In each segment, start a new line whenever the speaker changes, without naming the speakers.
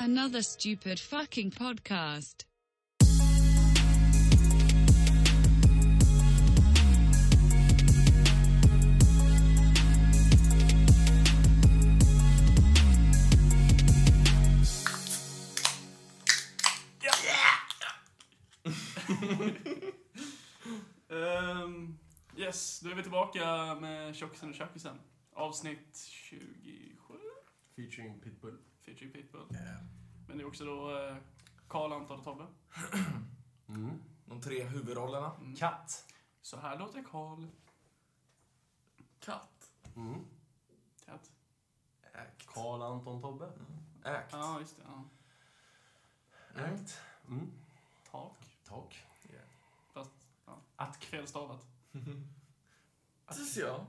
Another stupid fucking podcast.
Ehm, yes, då är vi tillbaka med Tjockisen och Tjackisen. Avsnitt 27,
Featuring Pitbull.
featuring Pitbull. Men det är också då eh, Karl, Anton och Tobbe.
Mm.
De tre huvudrollerna.
Mm.
Katt.
Så här låter Karl. Katt.
Mm.
Katt.
Act.
Karl Anton Tobbe.
Act.
Ja, just det. Ja.
Act.
Mm.
Tak.
Tack.
Att. Felstavat.
Attis ja.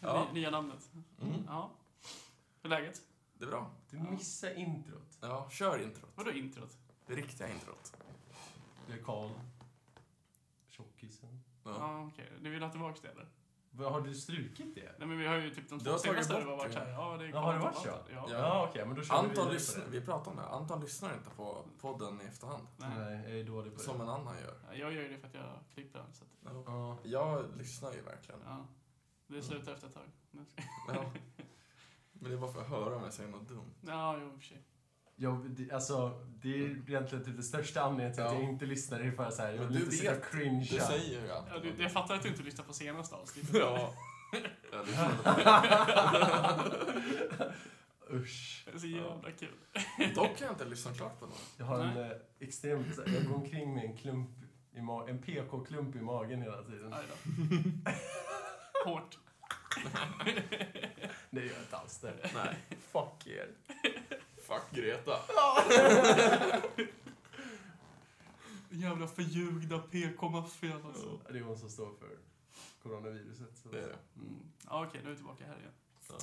Ja.
Ny- Nya namnet.
Mm.
Ja. Hur är läget?
Det är bra.
Du
Ja.
missade introt.
Ja, kör introt.
Vadå introt?
Det riktiga introt.
Det är Karl. Tjockisen.
Ja,
Ja.
okej. Du vill ha tillbaka det eller?
Vad, Har du strukit det?
Nej, men vi har ju typ de
Du
två
har tagit
senaste
bort
du har varit
det.
här. Ja, det är
Ja, har det
Karl
varit
och
så?
Anton. Ja.
Ja.
okej, men då kör vi
Anton
vidare på
lyssnar,
det.
vi pratar om det. här. Anton lyssnar inte på podden i efterhand.
Nej.
Nej, jag är dålig på det.
Som en annan gör.
Ja, Jag gör ju det för att jag klipper allt. så att-
Ja.
Jag lyssnar ju verkligen.
Ja. Det slutar efter ett tag. Nej.
Ja. Men det är bara för att höra om jag säger något dumt.
Ja, jo, i och för sig.
Jag, det- alltså, det är egentligen typ det största anledningen till att
Ja.
jag inte lyssnar. Det är för att så här, jag
Men
vill
du
inte sitta och
vet.
cringea.
Du säger ju
Ja,
Anton.
du, jag fattar att du inte lyssnar på senaste avsnittet.
Ja. Jag lyssnar på
Usch.
Det är så jävla kul.
det. Dock har jag inte lyssnat klart på något.
Jag har en eh, extremt... Jag går omkring med en klump i ma- En PK-klump i magen hela tiden.
Aj då. Hårt.
Nej, jag är inte alls det.
Nej.
Fuck er.
Fuck Greta.
Jävla förljugda PK-maffian alltså.
Det är hon som står för coronaviruset. Så.
Det är det.
Mm. Ja, okej, nu är vi tillbaka här igen.
Ja.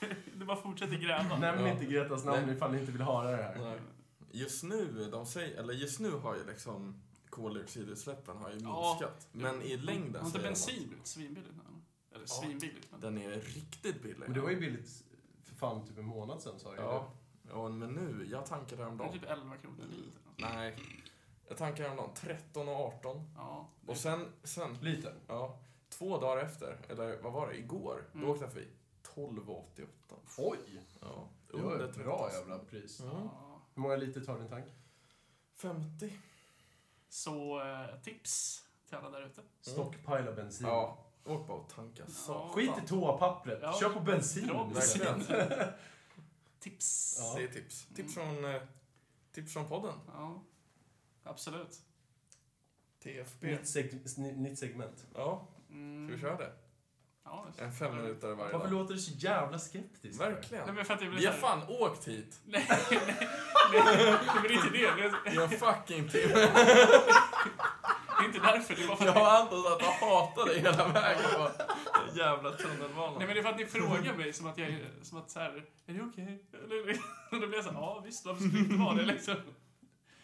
Ja.
Du bara fortsätter gräva.
Nämn
Ja.
inte Gretas namn
Nej.
ifall ni inte vill höra det här.
Nej. Just nu, de säger, eller just nu har ju liksom koldioxidutsläppen har ju
Ja.
minskat. Men i längden
Har inte
de
bensin blivit svinbilligt nu? eller? Eller svinbilligt,
att
men...
den är riktigt billig.
Men det var ju billigt för fan typ en månad sedan sa jag
Ja. ja, men nu, jag tankade
Det är
häromdagen.
typ 11 kronor liter.
Nej. Jag tankade häromdagen 13 och 18.
Ja.
Och sen, sen,
Liten.
ja, två dagar efter, eller vad var det, igår,
Mm.
då åkte jag förbi 12,88.
Oj!
Ja,
Det var ett bra
13.
jävla pris.
Mm.
Ja.
Hur många liter tar din tank?
50.
Så eh, tips till alla där ute.
Stockpila bensin.
Ja, åk bara och tanka. Satan.
Skit i toapappret,
Ja.
kör på bensin.
Bra bensin.
Verkligen.
Tips.
Ja.
Det är tips. Tips från, eh, tips från podden.
Ja. Absolut.
TFB.
Nytt, seg- ny- nytt segment.
Ja,
Mm.
ska vi köra det?
Ja, det-
En femminutare varje
Varför
dag.
låter du så jävla skeptisk?
Nej,
Verkligen.
men för att det blir
Vi har
så här-
fan åkt hit
Nej, nej, nej, nej, men det är inte det. Det är-
i en fucking timme.
Det är inte därför. Det är bara för
Jag
att
har antat att jag hatade dig hela vägen på den jävla tunnelbanan.
Nej men det är för att ni frågar mig som att jag är- som att så här, är det okej? Eller- Och då blir jag såhär, ja visst, varför skulle det inte vara det liksom?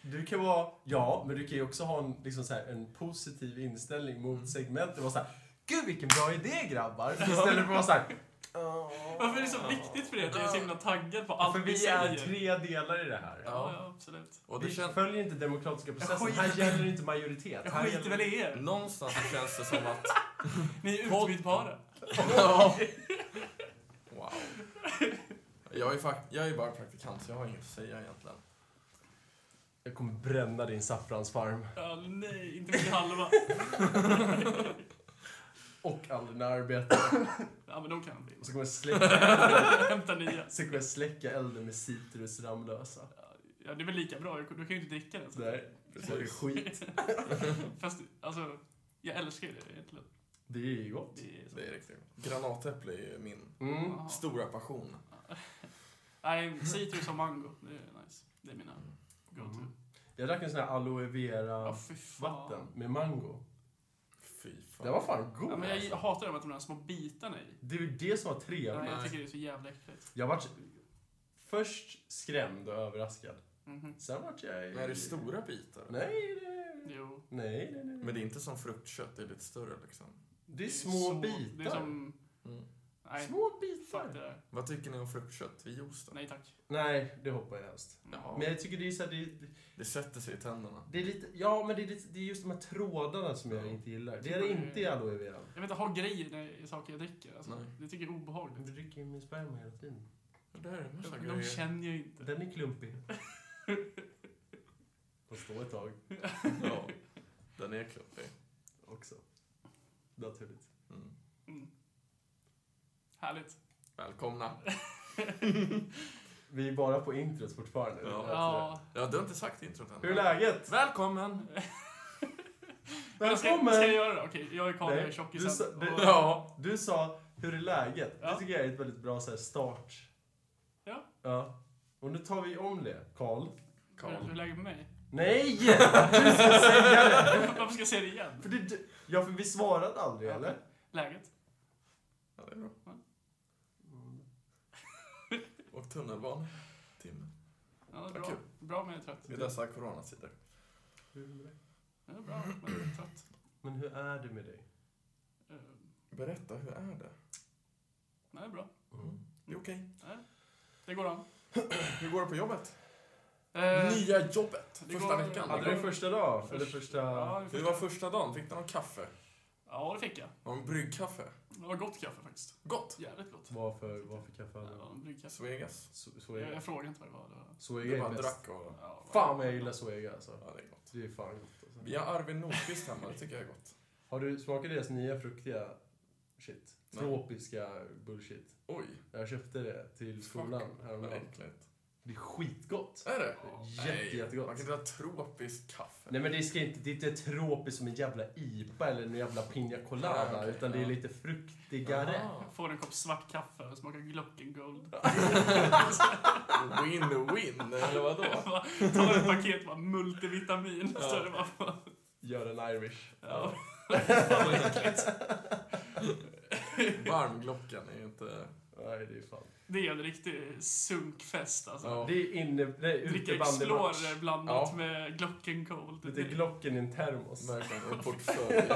Du kan vara, ja, men du kan ju också ha en, liksom så här, en positiv inställning
Mm.
mot segmentet. Vara såhär, gud vilken bra idé grabbar! Istället för att vara såhär,
Varför är det så viktigt för er att jag är så himla taggad på allt
för
vi
vi är
säger?
tre delar i det här.
Ja, ja, absolut.
Och det
Vi
känns...
följer inte demokratiska processen,
skiter-
här gäller inte majoritet.
Jag
Här
skiter väl
gäller...
i er.
Någonstans så känns det som att...
Ni är
Podd-
utbytbara.
Ja. Wow. Jag är, fakt- jag är bara praktikant, så jag har inget att säga egentligen.
Jag kommer bränna din saffransfarm.
Ja, nej, inte min halva.
Och all dina arbete.
Ja men de kan bli.
Och så kommer jag släcka,
Hämta nya.
så kommer jag släcka elden med citrus Ramlösa.
Ja, det är väl lika bra. Du kan ju inte dricka det. Så.
Nej, det är skit.
Fast alltså, jag älskar ju det egentligen.
Det är ju gott.
Det är så.
Det är riktigt Granatäpple är ju min
Mm.
Ja.
stora passion.
Nej, citrus och mango. Det är nice. Det är mina go-to.
Mm. Jag drack en sån här aloe
Ja,
vera
fy fan.
vatten med mango.
Fy fan.
Det var fan god
Ja, men jag
alltså.
hatar de här, de där små bitarna i.
Det är ju det som var
Ja,
trevligt.
jag tycker det är så jävla äckligt.
Jag vart först skrämd och överraskad.
Mhm.
Sen vart jag...
Men är det stora bitar?
Nej, nej,
Jo.
nej. nej, nej.
Men det är inte som fruktkött, det är lite större liksom.
Det är
ju
små
så-
bitar.
Det är som,
Mm.
Nej,
Små
fuck det
bitar.
där.
Vad tycker ni om fruktkött vid juice då?
Nej tack. Mm.
Nej, det hoppar jag helst.
Ja,
Men jag tycker det är så här, det,
det sätter sig i tänderna.
det är lite, ja men det är, lite, det är just de här trådarna som jag
Ja. Mm.
inte gillar. Det är det inte i aloe veran.
Jag vill inte ha grejer i- i saker jag dricker. Alltså.
Nej.
Det tycker jag är
Men
obehagligt.
Du dricker ju min sperma hela tiden.
Ja, Det här är en massa
De
grejer.
känner ju inte.
Den är klumpig. Får stå ett tag
Ja, den är klumpig.
också. Naturligt.
Mm.
Mm. Härligt.
Välkomna.
Vi är bara på introt fortfarande.
Ja.
Alltså,
Ja.
Ja, du har inte sagt introt än.
Hur är läget?
Välkommen!
Ska, ska jag göra det? Okej, jag är Karl, jag är
Nej, du, sa,
tjockisen.
du,
Och-
ja, du sa hur är läget?
Ja.
Det tycker jag är ett väldigt bra så här, start.
Ja.
ja. Och nu tar vi om det, Karl.
Hur hur är
Karl.
läget med mig?
Nej! Du ska säga det!
Varför ska jag säga det igen?
För det, du- ja, för vi svarade aldrig, eller?
Läget?
Ja, det är bra. Och tunnelbana. Timme.
Ja,
Vad
bra.
kul.
Bra men jag är trött.
I dessa coronatider.
Ja, bra men jag är trött.
Men hur är det med dig?
Eh,
Berätta, hur är det?
Nej, bra. Mm.
Det är okej.
Det går an.
Hur går det på jobbet?
Eh,
Nya jobbet!
det
Första
går-
veckan.
Ja,
Hade du första dag? Eller första...
Ja, det
Hur
fick
var
jag.
första dagen? Fick du någon kaffe?
Ja, det fick jag.
Någon bryggkaffe?
Det var gott kaffe faktiskt.
Gott!
Jävligt gott.
Vad för, vad för kaffe hade
Det
du?
var en bryggkaffe.
Svegas.
So-
Jag,
Zoega?
jag frågade inte vad det var. Det var
Du
Zoega
bara
är bäst.
drack och...
ja, vad-
Fan vad jag gillar Zoega alltså.
Ja, det är gott.
Det är fan gott alltså.
Vi har Arvid Nordqvist hemma, det tycker jag är gott.
Har du smakat deras nya fruktiga shit?
Nej.
Tropiska bullshit.
Oj,
Jag köpte det till skolan
vad
häromdagen.
äckligt.
Det är skitgott.
Är det?
Jätte,
Nej,
jättegott.
Man kan inte ha tropiskt kaffe.
Nej men det, ska inte, det är inte tropiskt som en jävla IPA eller en jävla Pina Colada.
Ah, okej,
utan det är
ja.
lite fruktigare.
Aha.
Får en kopp svart kaffe och smakar Glockengold.
Ah. Win-win, eller vadå?
Tar ett paket bara multivitamin.
Ja.
Så är det bara...
Gör en Irish.
Ja.
Varmglockan är ju inte...
Nej det är fan.
Det är en riktig sunkfest alltså.
Ja.
Det är inne... Nej,
Dricka
utebandymatch.
Explorer blandat
Ja.
med Glockengold.
eh,
Lite Glocken i en termos.
Verkligen, och portfölj.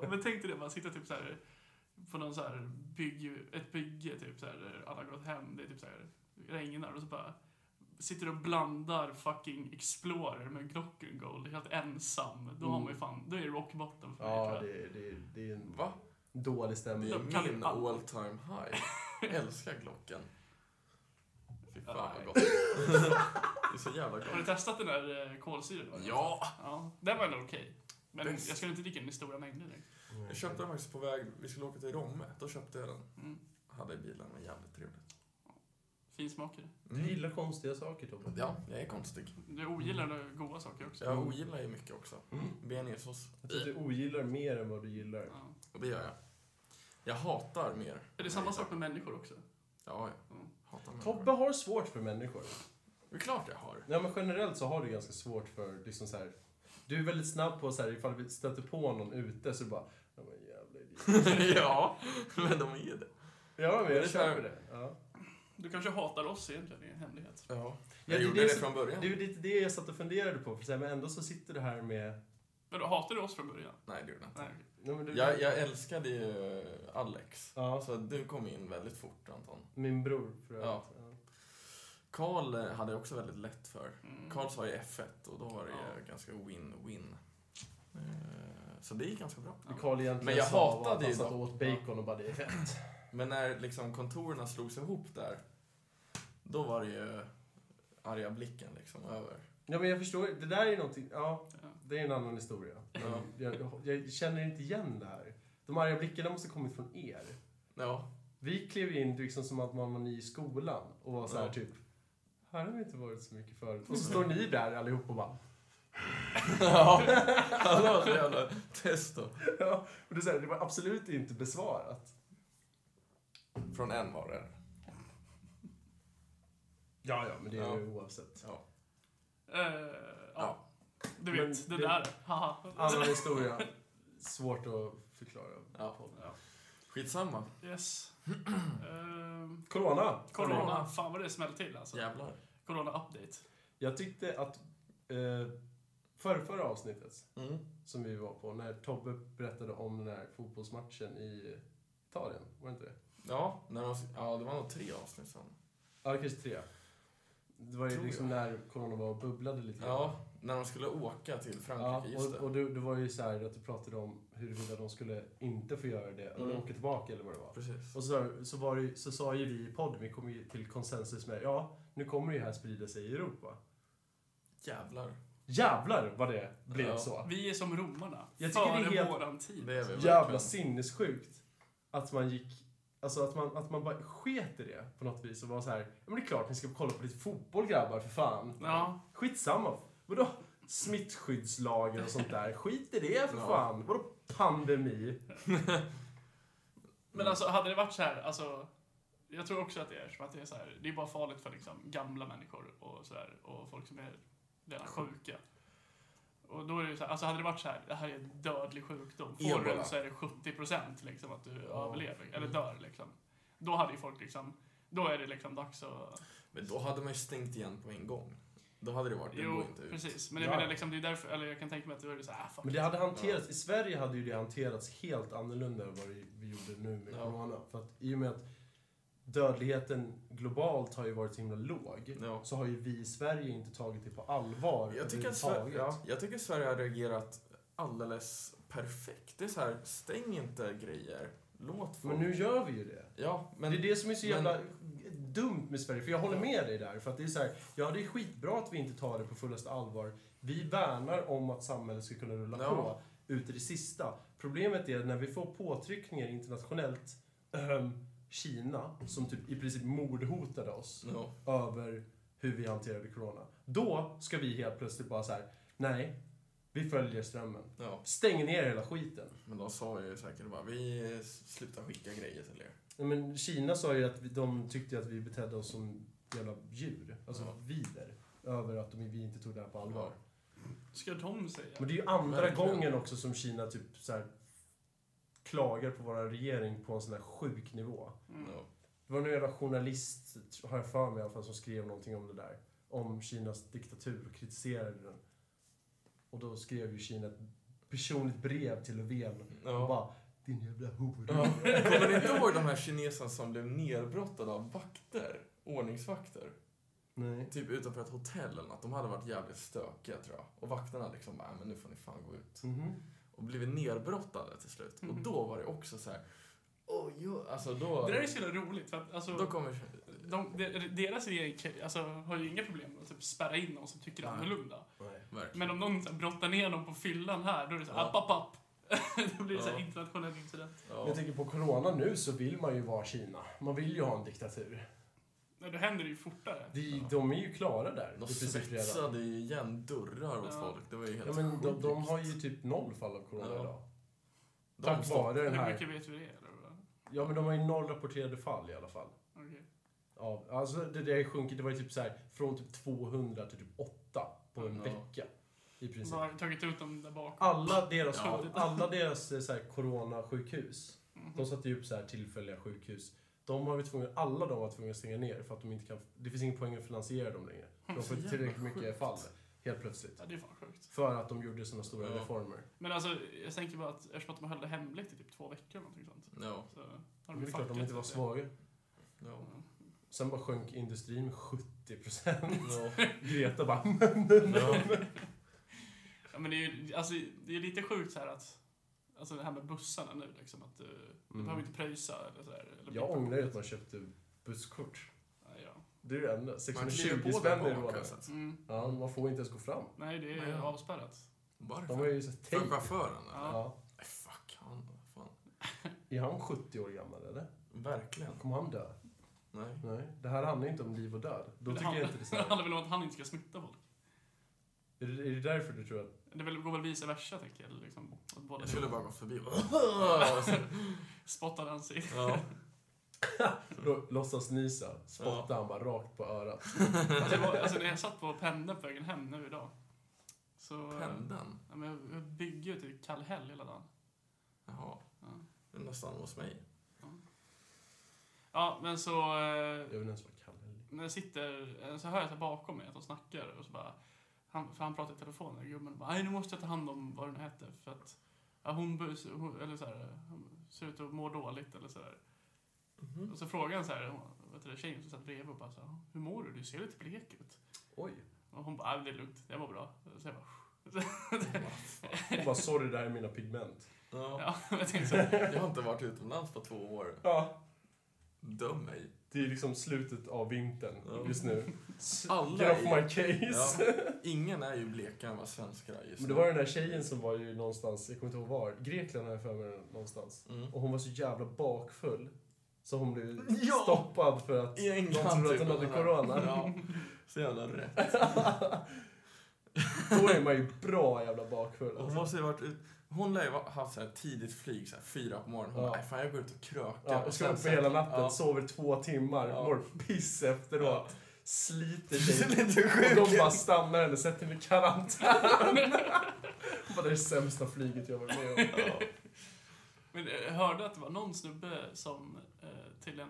Men tänk dig det, man sitter typ så här på någon så här bygg, ett bygge typ så här, där alla har gått hem, det är typ så här regnar och så bara sitter och blandar fucking Explorer med Glockengold helt ensam. Då har man ju fan, då är det rock bottom för mig
Ja,
tror jag.
det, är- det, är- det är en
Va?
dålig
Det
stämning.
är
De kan
min
ju allt.
all time high. Jag älskar Glocken. Fy fan
Nej.
vad gott. Det är så jävla
Har du
gott.
testat den där eh, kolsyran?
Ja!
ja! Den var ändå okej. Men
Bäst.
jag skulle inte dricka den i stora mängder direkt.
Mm.
Jag köpte den faktiskt på väg, vi skulle åka till Romme. Då köpte jag den.
Mm.
Hade i bilen, var jävligt trevligt. Mm.
Fin smak i det.
Du Mm. gillar konstiga saker, Tobbe.
Ja, jag är konstig.
Du ogillar när goda saker också.
Mm.
Jag ogillar ju mycket också. Bearnaisesås.
Jag tror att du ogillar mer än vad du gillar.
Ja.
Och det gör jag. Jag hatar mer.
Är det samma sak med människor också?
Ja,
Mm.
jag hatar mer.
Tobbe har svårt för människor.
Det är klart jag har.
Ja, men generellt så har du ganska svårt för liksom så här. Du är väldigt snabb på så här, ifall vi stöter på någon ute så bara... Ja, men jävla idiot.
ja, men de är det.
Ja, men jag
Det kör
köper det. Ja.
Du kanske hatar oss egentligen i hemlighet.
Ja.
det
Jag
är
gjorde
det
det
som-
från början.
Det är ju lite det jag satt och funderade på, för så här, men ändå så sitter du här med...
Men då hatar du oss från början?
Nej, det gjorde jag inte.
Nej.
Ja, men du,
Jag, jag älskade ju eh, Alex.
Ja.
Så du kom in väldigt fort, Anton.
Min bror, för övrigt.
Ja.
Ja.
Karl eh, hade jag också väldigt lätt för.
Mm.
Karl sa ju F1 och då var det
Ja.
ganska win-win. Eh, Så det gick ganska bra.
Ja.
Carl egentligen
Men jag
sa var
hatade
att han
ju
satt
dem.
och åt bacon och bara det är fett.
Men när liksom kontorerna slogs ihop där, då var det ju arga blicken liksom över.
Ja men jag förstår, det där är ju någonting, ja
Ja.
det är en annan historia.
Ja.
Jag, jag känner inte igen det här. De arga blickarna måste ha kommit från er.
Ja,
Vi klev in liksom som att man var ny i skolan och var så här
Ja.
typ, här har vi inte varit så mycket förut. Och så står ni där allihop och bara,
ja. det var så jävla test då.
ja. Och det, är så här, det var absolut inte besvarat.
Från en var det.
Ja, ja, men det är
Ja.
ju oavsett.
Ja.
Eh, ja. Du vet,
Men
det
det-
där. Haha.
Annan historia, svårt att förklara.
Ja.
Ja.
Skitsamma.
Yes. Ehm,
Corona!
corona.
Corona.
Fan vad det smällde till alltså.
Jävlar.
Corona update.
Jag tyckte att eh, förra, förra avsnittet
Mm.
som vi var på, när Tobbe berättade om den här fotbollsmatchen i Italien, var det inte det?
Ja, när man, ja, det var nog tre avsnitt sen.
Ja, det kanske tre. Det var ju
Tror
liksom
jag.
när corona var och bubblade lite grann.
Ja, när de skulle åka till
Ja,
Frankrike, just
och,
det.
och du, det var ju så här att du pratade om huruvida de skulle inte få göra det, eller
Mm.
åka tillbaka eller vad det var.
Precis.
Och så, så, var det, ju- så sa ju vi i podden, vi kom ju till konsensus med, ja, nu kommer det ju här sprida sig i Europa.
Jävlar.
Jävlar vad det blev
Ja.
så.
Vi är som romarna.
Jag tycker
före
det är helt-
våran tid.
Det är vi
Jävla
verkligen.
sinnessjukt. Att man gick, alltså att man, att man bara sket i det på något vis och var så här, ja men det är klart ni ska kolla på lite fotboll grabbar för fan.
Ja.
Skitsamma. Vadå? Smittskyddslagar och sånt där. Skit i det för
Ja.
fan. Vadå pandemi?
Men alltså, hade det varit så här, alltså... Jag tror också att det är som att det är så här, det är bara farligt för liksom gamla människor och så här, och folk som är redan sjuka. Och då är det ju så här, alltså hade det varit så här, det här är en dödlig sjukdom. Får du
Ebola.
den så är det 70% liksom att du
Ja.
överlever, eller dör liksom. Då hade ju folk liksom, då är det liksom dags att...
Men då hade man ju stängt igen på en gång. Då hade det varit, det
Jo,
går inte ut.
precis. Men jag
Ja.
menar liksom, det är därför, eller jag kan tänka mig att då är det så här, ah, fuck.
Men det hade hanterats, i Sverige hade ju det hanterats helt annorlunda än vad vi- vi gjorde nu med
Ja.
corona. För att i och med att dödligheten globalt har ju varit så himla låg,
Ja.
så har ju vi i Sverige inte tagit det på allvar
Jag tycker, att
överhuvudtaget.
Sverige, ja, jag tycker att Sverige har reagerat alldeles perfekt. Det är så här, stäng inte grejer. Låt folk...
Men nu gör vi ju det.
Ja, men...
det är det som är så
men-
jävla dumt med Sverige, för jag håller med dig där. För att det är så här, ja det är skitbra att vi inte tar det på fullaste allvar. Vi värnar om att samhället ska kunna rulla
Ja.
på ut i det sista. Problemet är när vi får påtryckningar internationellt, ehm, Kina, som typ i princip mordhotade oss
Ja.
över hur vi hanterade corona. Då ska vi helt plötsligt bara så här, nej, vi följer strömmen.
ja.
Stäng ner hela skiten.
Men de sa ju säkert bara, vi eh, slutar skicka grejer till er.
Ja, men Kina sa ju att vi, de tyckte att vi betedde oss som jävla djur. Alltså
Ja.
vider. Över att de, vi inte tog det här på allvar.
Ska de säga?
Men det är ju andra
Verkligen.
gången också som Kina typ så här, klagar på vår regering på en sån här sjuk nivå.
Mm.
Ja.
Det var någon jävla journalist, har jag för mig i alla fall, som skrev någonting om det där. Om Kinas diktatur och kritiserade den. Och då skrev ju Kina ett personligt brev till Löfven. Och
Ja.
bara, din jävla hora.
Ja. Kommer ni inte ihåg de här kineserna som blev nerbrottade av vakter? Ordningsvakter?
Nej.
Typ utanför ett hotell eller något. De hade varit jävligt stökiga tror jag. Och vakterna liksom bara, "Äh, men nu får ni fan gå ut.
Mhm.
Och blivit nerbrottade till slut. Och
Mhm.
då var det också så här. Åh, jo. Alltså då...
Det där är så jävla roligt, för att alltså...
Då kommer...
De, de, deras regering kan- alltså, har ju inga problem med att typ, spärra in någon som tycker
Nej.
annorlunda.
Nej.
Verkligen.
Men om någon så här, brottar ner någon på fyllan här, då är det så här,
Ja.
app, app, app. då blir det så här
Ja.
internationell incident.
Ja.
Men Jag tänker på corona nu så vill man ju vara Kina. Man vill ju ha en diktatur.
Nej, då händer det ju fortare.
De, de är ju klara där. i
De
princip redan.
svetsade ju igen dörrar åt
Ja.
folk. Det var ju helt
Ja, men de, de
sjukt.
har ju typ noll fall av corona
Ja.
idag.
De
Tack
stopp-
vare den
Hur
här.
mycket vet vi det? Eller? vad?
Ja, men de har ju noll rapporterade fall i alla fall.
Okej.
Ja, alltså det där sjunkit, det var ju typ så här från typ 200 till typ 8 på en
Ja.
vecka. I princip.
Bara tagit ut dem där bak.
Alla deras,
Ja.
alla deras eh, så här, coronasjukhus,
Mhm.
de satte ju upp så här tillfälliga sjukhus. De har vi tvungna, alla de var tvungna att stänga ner för att de inte kan, det finns ingen poäng att finansiera dem längre. De
Så
får inte
jävla
tillräckligt mycket
sjukt.
fall helt plötsligt.
Ja, det är fan sjukt.
För att de gjorde såna stora
Ja.
reformer.
Men alltså, jag tänker bara att eftersom att de höll det hemligt i typ två veckor eller någonting sånt.
Ja.
Så har
Men
de
det
ju
är klart, de
fuckat
inte var
det.
svaga.
Ja.
Mm.
Sen bara sjönk industrin med 70 procent.
Ja.
Greta bara... "Mm."
Ja.
Ja, men det är ju alltså, det är lite sjukt så här att, alltså det här med bussarna nu liksom, att du, du
Mm.
behöver inte pröjsa eller sådär. Eller
Jag
bli-
ångrar ju att man köpte busskort.
Ja, ja.
Det är det enda.
Man
620
kliver på
Liksom spänn
där
i
bak
rådet.
alltså.
Mm.
Ja, man får inte ens gå fram.
Nej, det är
Nej, ja.
avspärrat.
De har
Varför?
ju så
För
tejp.
chauffören? eller?
Ja.
Ja.
Nej, fuck han. vad Fan.
Är han 70 år gammal eller?
Verkligen.
Kommer han dö?
Nej.
Nej. Det här handlar inte om liv och död.
Det
Då tycker jag
handlar-
inte det är så
Det
här.
handlar väl om att han inte ska smitta folk.
Är det, är det därför du tror att...
Det väl- går väl vice versa, tänker jag. eller Liksom, att båda
Jag skulle bara gå förbi och
spottar han sig.
ja.
Lå- Låtsas nysa, spotta han bara rakt på örat.
Alltså, det var, alltså, när jag satt på pendeln på vägen hem nu idag. Så,
Pendeln?
ja, men jag- jag bygger ju till Kallhäll hela dagen.
Jaha.
Ja.
Det är nästan hos mig.
ja, men så...
Jag
eh,
vet inte ens vad Kalle är.
när jag sitter, eh, så hör jag så här bakom mig att de snackar och så bara, han, för han pratar i telefonen, gubben bara, nej nu måste jag ta hand om vad den heter för att ja, hon, bus- hon, eller så här, hon ser ut att må dåligt eller så där.
Mhm.
Och så frågar han så här, hon- vet du, det, tjejen som satt bredvid och bara så här, hur mår du? Du ser lite blek ut.
Oj.
Och hon bara, "Ah, det är lugnt, jag mår bra. Så jag bara,
Hon bara, sorry, det här är mina pigment.
Ja.
ja, jag tänkte så här,
Jag har inte varit utomlands på två år.
Ja.
Döm mig.
Det är liksom slutet av vintern
Ja.
just nu.
Alla
Get off
är-
my case.
Ja. Ingen är ju blekare än vad svenskar är just
Men det var den där tjejen som var ju någonstans, jag kommer inte ihåg var, Grekland har jag för mig någonstans.
Mm.
Och hon var så jävla bakfull. Så hon blev
Ja!
stoppad för att
I
de
England
trodde att hon hade
eller?
corona.
Ja. Så jävla rätt.
Då är man ju bra jävla bakfull.
Och Hon
Alltså.
måste ju varit ut... Hon lär ju ha haft så här tidigt flyg, så här fyra på morgonen. Hon
Ja.
bara, "Nej, fan jag går ut och krökar.
Ja, och ska
sen
upp
så-
hela natten,
Ja.
sover två timmar,
Ja.
mår piss efteråt,
Ja.
sliter
Det är
sig.
lite
Och de
sjukt.
bara stannar henne, sätter henne i karantän. Hon bara, det är det sämsta flyget jag varit med om.
Ja.
Men jag hörde att det var någon snubbe som eh, till en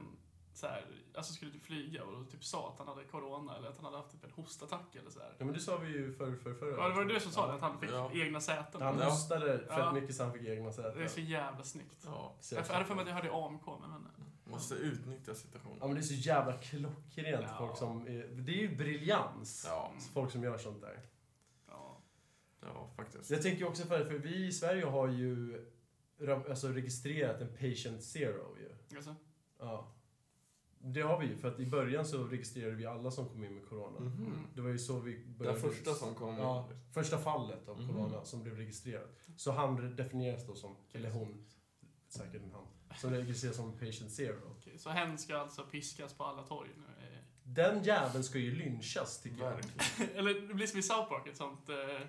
så här, alltså skulle typ flyga och typ sa att han hade corona eller att han hade haft typ en hostattack eller så här.
Ja, men det sa vi ju förr, förr, förra.
Ja, det var det du som sa det, att han fick
Ja.
egna säten.
Han
Ja.
hostade fett
Ja.
mycket så han fick egna säten.
Det är så jävla snyggt.
Ja.
Så
Jag
jag-
hade för mig att jag hörde i AMK, men men... eh,
Måste utnyttja
Ja
situationen.
men det är så jävla klockrent
Ja.
folk som är, Det är ju briljans.
Ja.
Folk som gör sånt där.
Ja.
Ja, faktiskt.
Jag tänker också för för vi i Sverige har ju ra- alltså, registrerat en patient zero ju.
Alltså,
Ja. Det har vi ju, för att i början så registrerade vi alla som kom in med corona.
Mhm.
Det var ju så vi
Den
började...
första som kom.
Ja, första fallet av
Mhm.
corona som blev registrerat. Så han definieras då som, eller hon, säkert en han, som registreras som patient zero.
okej. Så hen ska alltså piskas på alla torg nu? eh.
Den jäveln ska ju lynchas tycker jag.
Verkligen.
Eller det blir som i South Park, ett sånt... Eh,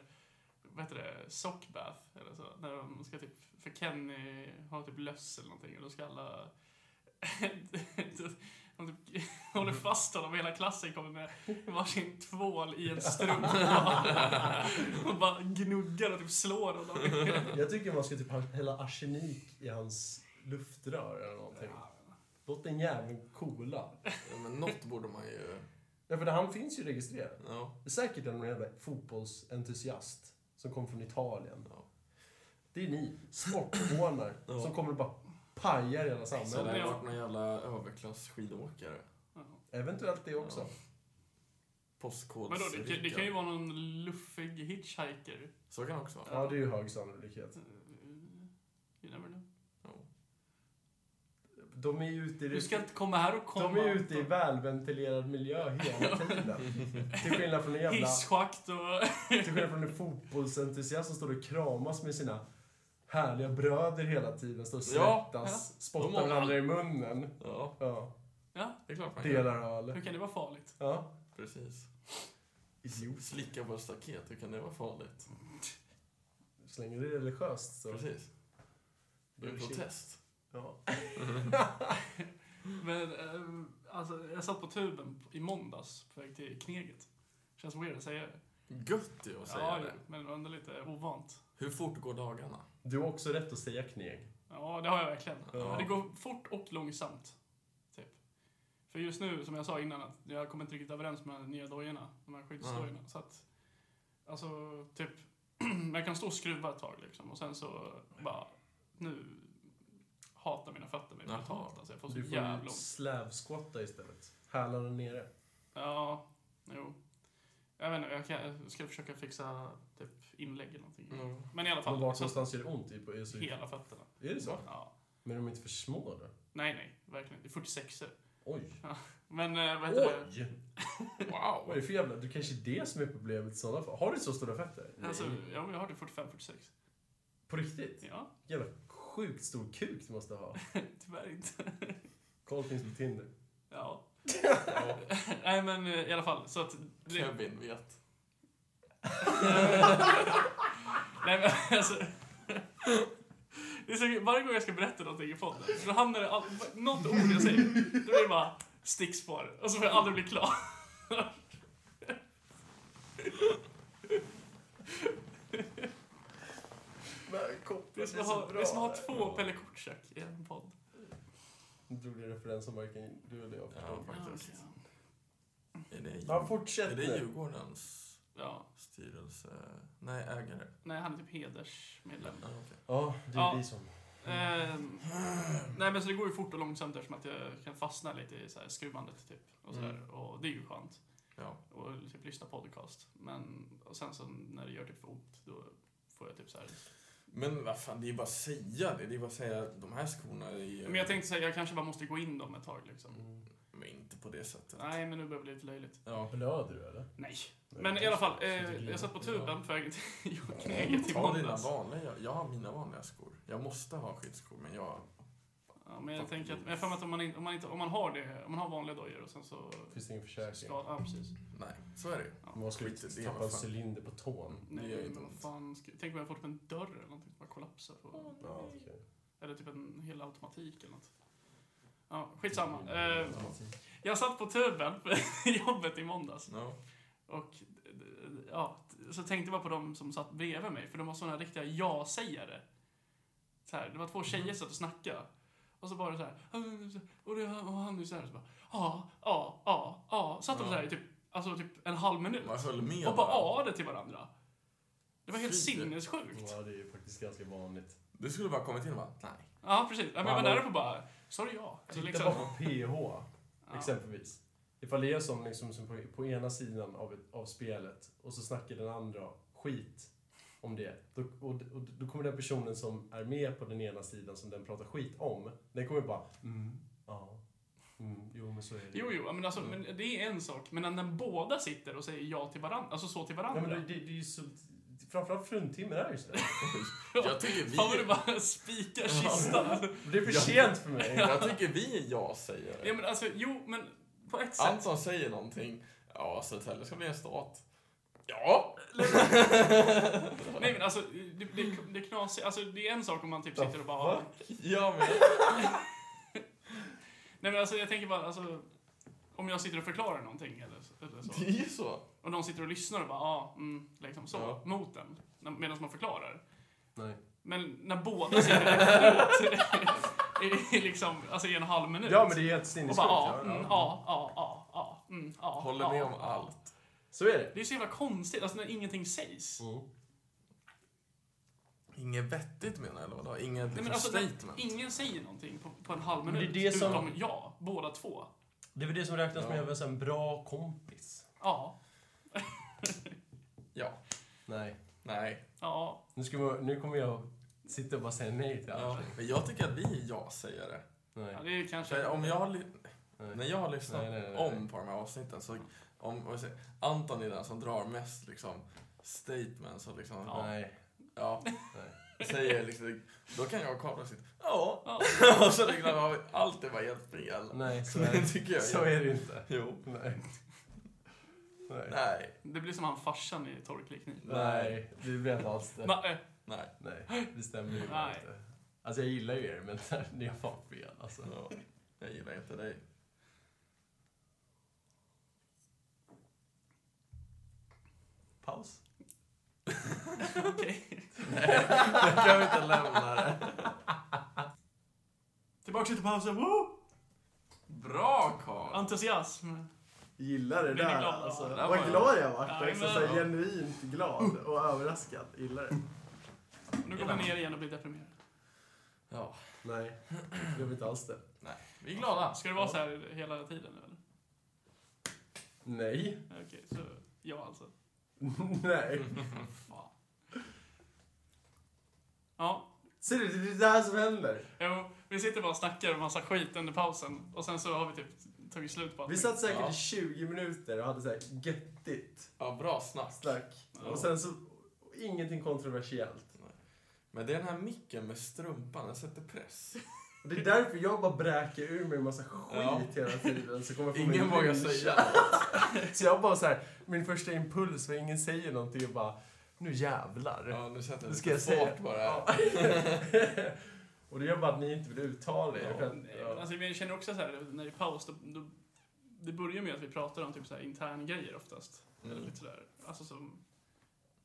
vad heter det? Sockbath, eller så. När de ska typ... För Kenny har typ löss eller någonting och då ska alla... de typ håller fast honom och hela klassen kommer med varsin tvål i en strumpa. och bara gnuggar och typ slår honom.
Jag tycker man ska typ ha- hälla arsenik i hans luftrör eller någonting. Låt den jäveln coola.
Ja, men något borde man ju...
Därför att han finns ju registrerad.
Ja.
Det är säkert en jävla fotbollsentusiast som kom från Italien.
Ja.
Det är ni, sporthånar,
Ja.
som kommer och bara pajar hela
Så det
samhället.
har varit någon jävla överklass skidåkare.
Ja.
Eventuellt det också.
Postkods...
Men då, det, kan- det kan ju vara någon luffig hitchhiker.
Så kan det också vara.
Ja, det är ju hög sannolikhet.
Eh, You never know.
Ja.
De är ju ute i,
Du ska inte komma här och komma...
de är ute i välventilerad miljö hela tiden. Till skillnad från en jävla...
Hisschakt och...
Till skillnad från en fotbollsentusiast som står och kramas med sina härliga bröder hela tiden. Står och
Ja,
svettas,
De har
spottar
väl
varandra i munnen.
Ja,
Ja,
det är klart man kan.
delar öl.
Hur kan det vara farligt?
Ja.
Precis.
Idiot.
Slicka på ett staket, hur kan det vara farligt?
Så länge det är religiöst så...
Precis. Det är en
Bullshit.
protest.
Ja.
Men eh, alltså, jag satt på tuben i måndags på väg till Kneget. Känns weird att säga det.
Gött det är att säga
Ja,
det.
men det var ändå lite ovant.
Hur fort går dagarna?
Du har också rätt att säga kneg.
Ja, det har jag verkligen.
Ja.
Men det går fort och långsamt. Typ. För just nu, som jag sa innan, att jag kommer inte riktigt överens med de här nya dojorna. De här skyddsdojorna. Så att, alltså, typ, jag kan stå och skruva ett tag liksom. Och sen så bara, nu hatar mina fötter mig
Jaha.
brutalt. Alltså, jag får så
Du får
jävla
ju
ont.
slävskvatta istället. Hälarna nere.
Ja, jo. Jag vet inte, jag, kan, jag ska försöka fixa typ inlägg eller någonting.
Mm.
Men i alla
Men
fall,
vart
så
någonstans gör det ont? Typ? Är, det så...
hela fötterna.
är det så?
Ja.
Men de är inte för små då?
Nej, nej, verkligen. Det är 46
Oj.
Men eh, vad heter det?
Oj! Vad är
Wow!
det för jävla... Du kanske är det som är problemet i sådana fall. Har du så stora fötter?
Alltså, ja, men jag har det 45-46.
På riktigt?
Ja,
Jävla sjukt stor kuk du måste ha.
tyvärr inte.
Koll finns på Tinder.
Ja.
Ja,
nej, men eh, i alla fall. Så att... Det,
Kevin vet.
nej, men alltså... Det är så, varje gång jag ska berätta någonting i podden, så hamnar det all, något ord jag säger, då är det bara stickspår. Och så får jag aldrig bli klar.
Men koppen
Det är som att ha, det är som att ha två Pelle Kortsök i en podd.
Nu drog du en referens som varken du eller jag
Ja,
förstod.
faktiskt. Är det,
Ja,
Djur-
fortsätt
är det
nu.
Djurgårdens
Ja.
Styrelse... Nej, ägare.
Nej, han är typ hedersmedlem.
Ja, okej.
Ja, det är
Ja.
vi som...
Ehm, nej men så det går ju fort och långsamt eftersom att jag kan fastna lite i så här skruvandet typ. Och, så
Mm.
här, och det är ju skönt.
ja.
Och typ lyssna på podcast. Men och sen så när det gör typ för ont då får jag typ så här.
Men vad fan, det är bara att säga det. Det är bara att säga att de här skorna är ju-
Men jag tänkte säga jag kanske bara måste gå in dem ett tag liksom.
Mm.
Men inte på det sättet.
Nej men nu börjar det bli lite löjligt.
Ja.
Blöder du eller?
Nej. Men i alla fall, eh, jag satt på tuben på vägen till Jokknäget i
Ta dina
måndags.
vanliga. Jag, jag har mina vanliga skor. Jag måste ha skyddsskor, men jag...
Ja, men jag tänker att, men jag har för mig att om man, in- om man, inte, om man har det, om man har vanliga dojor och sen så...
Finns det ingen försäkring?
Ska, ja, precis.
Nej, så är det ju.
Man ska ju
Skit i det,
tappa
vad
en
fan.
cylinder på tån.
Det gör
Nej,
inte
men
ont.
vad fan. Ska, tänk om jag får typ en dörr eller någonting som bara kollapsar på...
Ja, okej.
Eller typ en hel automatik eller något. Ja, skitsamma.
Mm.
Eh, jag satt på tuben på jobbet i måndags.
No.
Och eh, ja, så tänkte jag bara på de som satt bredvid mig, för de var såna riktiga ja-sägare. Så här, det var två tjejer som satt och snackade. Och så var det så här, och, det, och han är så här, så bara, ja, ja, ja, ja. Satt de så här i typ, alltså typ en halv minut.
Man höll med
Och bara
varandra.
aade till varandra. Det var helt
Fy.
sinnessjukt.
Ja, det är ju faktiskt ganska vanligt.
Du skulle bara kommit in och bara, nej.
Ja, precis. Ja, men jag var
Mamma.
nära på bara, sorry ja. Alltså,
Titta
liksom,
bara på PH,
ja.
exempelvis. Ifall det är som liksom, som på, på ena sidan av, ett, av spelet och så snackar den andra skit om det. Då, och, och, då kommer den personen som är med på den ena sidan som den pratar skit om, den kommer bara mm, ja, mm, jo men så är det.
Jo, jo, men, alltså, men det är en sak. Men när båda sitter och säger ja till varandra, alltså så till
Ja,
varandra.
men det, det, det är ju så, framförallt fruntimmer är ju sådär.
Jag tycker vi,
Fan vad du bara spikar kistan.
Det är för
Ja.
sent för mig.
jag tycker vi är ja-sägare.
ja, men alltså, jo, men på ett sätt.
Anton säger någonting. Ja, Södertälje ska bli en stat. Ja!
Nej, men alltså, det, det, det är knasigt. Alltså, det är en sak om man typ sitter och bara...
Ja, men...
Nej, men alltså, jag tänker bara, alltså... Om jag sitter och förklarar någonting eller, så- eller så.
Det är ju så.
Och de sitter och lyssnar och bara, ja, mm, liksom så.
Ja.
Mot den. Medan man förklarar.
Nej.
Men när båda sitter emot i, liksom, alltså i en halv minut.
Ja, men det är helt
och
sinnessjukt.
bara, ja,
ja,
mm,
ja.
ja, ja, ja, ja, mm, ja.
Håller
ja,
med om
ja.
allt.
Så är det.
Det är så jävla konstigt, alltså när ingenting sägs.
Mm.
Inget vettigt menar jag, eller vadå? Inget
Nej,
liksom,
men alltså, när
statement?
ingen säger någonting på, på en halv
Men det är
minut,
det som-
utom jag, båda två.
Det är väl det som räknas
Ja.
med att vara en bra kompis.
Ja,
Ja.
Nej.
Nej.
ja,
Nu, ska vi, nu kommer jag sitta och bara säga nej till allt.
Ja. Men jag tycker att vi är ja-sägare.
ja
Nej.
det är
För
kanske...
Om jag har... ly-
Nej.
När jag har lyssnat
Nej, nej, nej, nej.
om på de här avsnitten så... Om, vad säger, Anton är den som drar mest liksom statements och liksom... Ja.
Nej.
säger liksom... Då kan jag och Karl sitta... Ja.
Ja.
och så liksom, har vi- allt är bara helt fel.
Nej, så är,
Det tycker jag.
så är det inte.
Jo.
Nej. Nej. Nej.
Nej.
Det blir som han farsan i eh, Torrklickning.
det blir inte alls det.
Nej,
Nej.
Nej, det stämmer ju bara
Nej.
inte. Alltså jag gillar ju er, men ni har fan fel alltså.
Ja. Jag gillar inte dig.
Paus.
okej.
Jag kan inte lämna det.
Tillbaka till pausen, woo!
Bra Karl!
Entusiasm.
Gillar det
Blir ni
där
glada?
alltså.
Ja,
det var
Vad
jag.
glad jag vart.
Ja,
Jag är liksom
men-
så här genuint glad och överraskad. Gillar det.
Nu går vi ner igen och blir deprimerade.
Ja.
Nej,
Jag blev inte alls det.
Nej. Vi är glada.
Ska det vara så här hela tiden nu eller?
nej,
Okej, så ja alltså.
Nej.
Fan. Ja,
Ser du, det är det här som händer.
jo, vi sitter bara och snackar en massa skit under pausen och sen så har vi typ tagit slut på
Vi
allting.
satt säkert
Ja.
i 20 minuter och hade så här göttigt
Ja, bra snack.
snack.
Ja.
Och sen så ingenting kontroversiellt.
Men det är den här micken med strumpan, den sätter press.
Och Det är därför jag bara bräker ur mig en massa skit
Ja.
hela tiden. Så kommer jag få
Ingen
min
vågar
lynch.
säga
så jag bara så här, min första impuls var ingen säger någonting och bara, nu jävlar.
Ja, nu sätter
Det
jag
ska
lite
jag säga.
fart bara.
Ja. och det gör bara att ni inte vill uttala er.
Ja.
för att-
Nej, men
ja.
Alltså, men jag känner också så här när det är paus, då, då, det börjar med att vi pratar om typ så här intern grejer oftast. Eller
Mm.
lite sådär, alltså som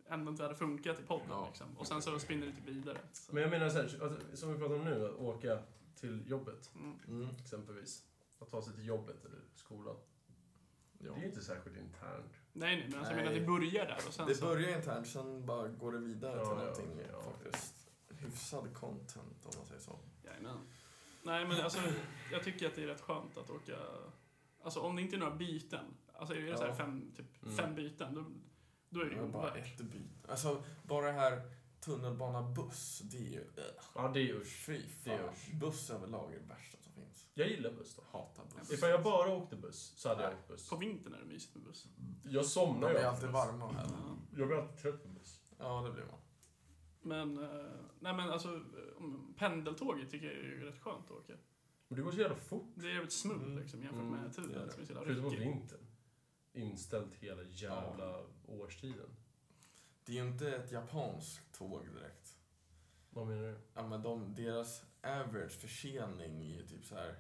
ändå inte hade funkat i podden
Ja.
liksom. Och sen så spinner det typ vidare. Så.
Men jag menar så här, alltså, som vi pratar om nu, att åka till jobbet
Mm.
Mm.
exempelvis. Att ta sig till jobbet eller skolan.
Ja.
Det är ju inte särskilt internt.
Nej, nej, men alltså, jag menar
Nej.
det börjar där och sen
Det
så...
börjar internt, sen bara går det vidare
Ja,
till
ja,
någonting
okej, ja.
faktiskt. Hyfsad content om man säger så.
Jajamän. Nej, men alltså jag tycker att det är rätt skönt att åka... Alltså om det inte är några byten, alltså är det så här
Ja.
fem, typ
Mm.
fem byten, då, då är det
Det
ju
är bara
ovärt.
ett byte. Alltså, bara det här tunnelbana buss, det är ju...
Ja, det är ju
Fy
Det
fan.
görs.
Buss överlag är det värsta som finns.
Jag gillar buss då.
Hatar buss.
Ifall jag bara åkte buss så hade jag
Nej.
åkt buss.
På vintern är det mysigt med buss.
Jag
De
somnar ju
är
av
alltid
buss.
varma här.
Ja.
Jag blir alltid trött på buss.
Ja, det blir man.
Men, eh, nej men alltså om- pendeltåget tycker jag är ju rätt skönt att åka.
Men det går så jävla fort.
Det är jävligt smooth
Mm.
liksom jämfört
Mm,
med
det är
tiden
det.
som är så jävla
Förutom på
ryckig.
vintern. Inställt hela jävla årstiden.
Det är ju inte ett japanskt tåg direkt.
Vad menar du?
Ja, men de, deras average försening är ju typ så här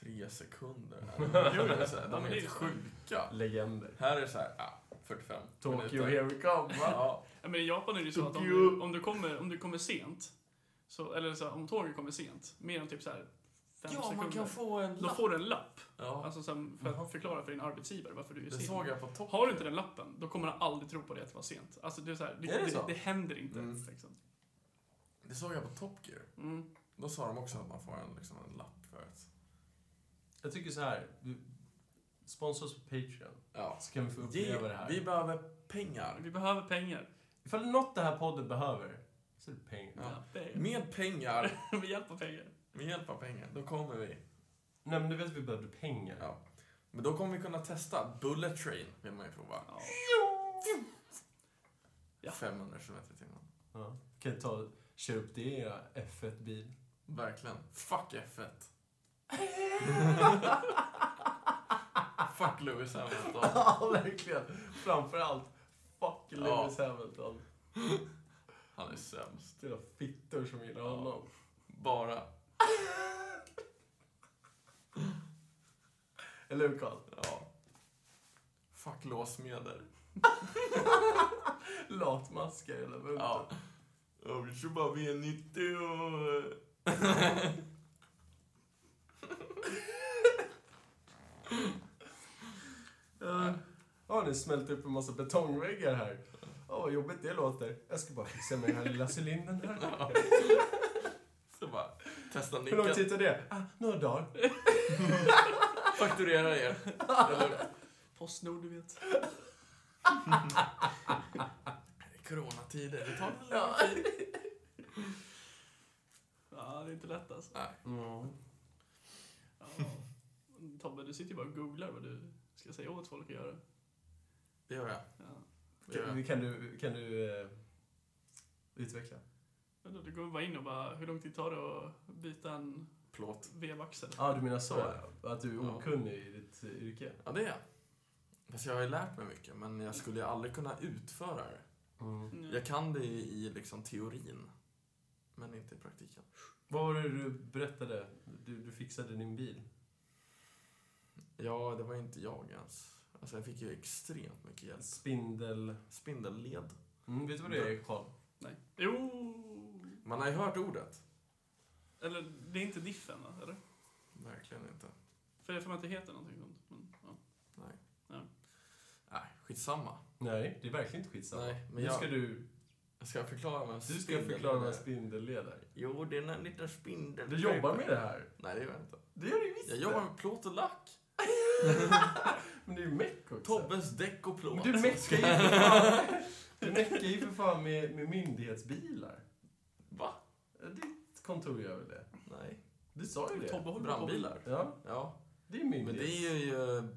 tre sekunder.
Jo,
Eller
jo.
så här,
Ja,
de
men
är
det är
helt
så.
sjuka.
Legender.
Här är det så här, ja, 45
Tokyo
minuter.
here we come.
Ja,
Ja, men I Japan är det ju så att om
Tokyo.
du, om du, kommer, om du kommer sent, så, eller så här, om tåget kommer sent, mer än typ så här fem
ja
sekunder,
man kan få en
då
lapp.
får du en lapp.
Ja,
Alltså sen för
Jaha.
att förklara för din arbetsgivare varför du är
det
sen.
såg jag på toppen.
Har du inte den lappen, då kommer han aldrig tro på det att det var sent. Alltså det är så här, det,
Är det
det,
så?
det händer inte.
Mm.
Liksom.
Det såg jag på Top Gear.
Mm.
Då sa de också att man får en, liksom, en lapp för att...
Jag tycker så här. vi- Sponsra oss på Patreon.
Ja.
Så kan vi få
Ge-
uppleva det här.
Vi behöver pengar.
Vi behöver pengar.
Ifall det är något det här podden behöver så är det pengar.
Ja.
Ja. pengar.
Med pengar,
Med hjälp av pengar.
med hjälp av pengar, då kommer vi.
Nej men du vet att vi behövde pengar.
Ja. Men då kommer vi kunna testa. Bullet Train vill man ju prova.
Ja. Ja.
500 km i timmen.
Ja. Kan jag ta, köra upp det i era F1-bil.
Verkligen. Fuck F1. Fuck Lewis Hamilton.
Ja, verkligen. Framförallt, fuck Lewis Hamilton.
Han är sämst.
Jävla fittor som gillar
Ja.
honom.
Bara.
Eller hur Carl?
Ja. Fuck låsmedel.
Latmaskar hela bunten.
Ja. Jag vill köpa V90 och...
Eh, Ja, ni smält upp en massa betongväggar här. Ja, vad jobbigt det låter. Jag ska bara fixa med den här lilla cylindern här.
Ja. Så bara, testa
Hur lång
nyckeln.
tid tar det? Ah, några dagar.
Fakturera er. Eller
Postnord, du vet.
coronatider. Det tar väl
Ja. ja, det är inte lätt alltså.
Nej.
Mm.
Ja. Tobbe, du sitter ju bara och googlar vad du ska säga åt folk att göra.
Det gör jag.
Ja.
Det gör jag.
Kan, kan du, kan du eh, utveckla?
Men då, du går bara in och bara, hur lång tid tar det att byta en
Plåt.
vevaxel?
Ja, ah, du menar så?
Ja.
Att du är
Ja.
okunnig i ditt eh, yrke?
Ja, det är jag. Fast jag har ju lärt mig mycket, men jag skulle ju aldrig kunna utföra det.
Mm.
Jag kan det i liksom teorin, men inte i praktiken.
Vad var det du berättade? Du, du fixade din bil.
Ja, det var inte jag ens. Alltså jag fick ju extremt mycket hjälp.
Spindel...
Spindelled.
Mm, vet du vad det är, Carl?
Nej. Jo!
Man har ju hört ordet.
Eller det är inte diffen va? Eller?
Verkligen inte.
För jag får mig att det heter någonting sånt. Men, ja.
Nej.
Ja.
Nej, skitsamma.
Nej, det är verkligen inte skitsamma.
Nej, men
nu
jag-
ska du,
Jag ska förklara vad en
du ska
spindel
förklara vad
är.
en spindelled är.
Jo, det är en liten spindel.
Du jobbar med det här?
Nej, det gör jag inte.
Det gör du visst
Jag
det.
jobbar med plåt och lack.
Men det är ju meck också.
Tobbes däck och plåt.
Men du meckar ju för fan, du meckar ju för fan med, med myndighetsbilar.
Va?
Ditt kontor gör väl det?
Nej.
Du sa ju det.
Tobbe håller på med-
Brandbilar.
Ja,
Ja.
det är myndighets...
Men det är ju...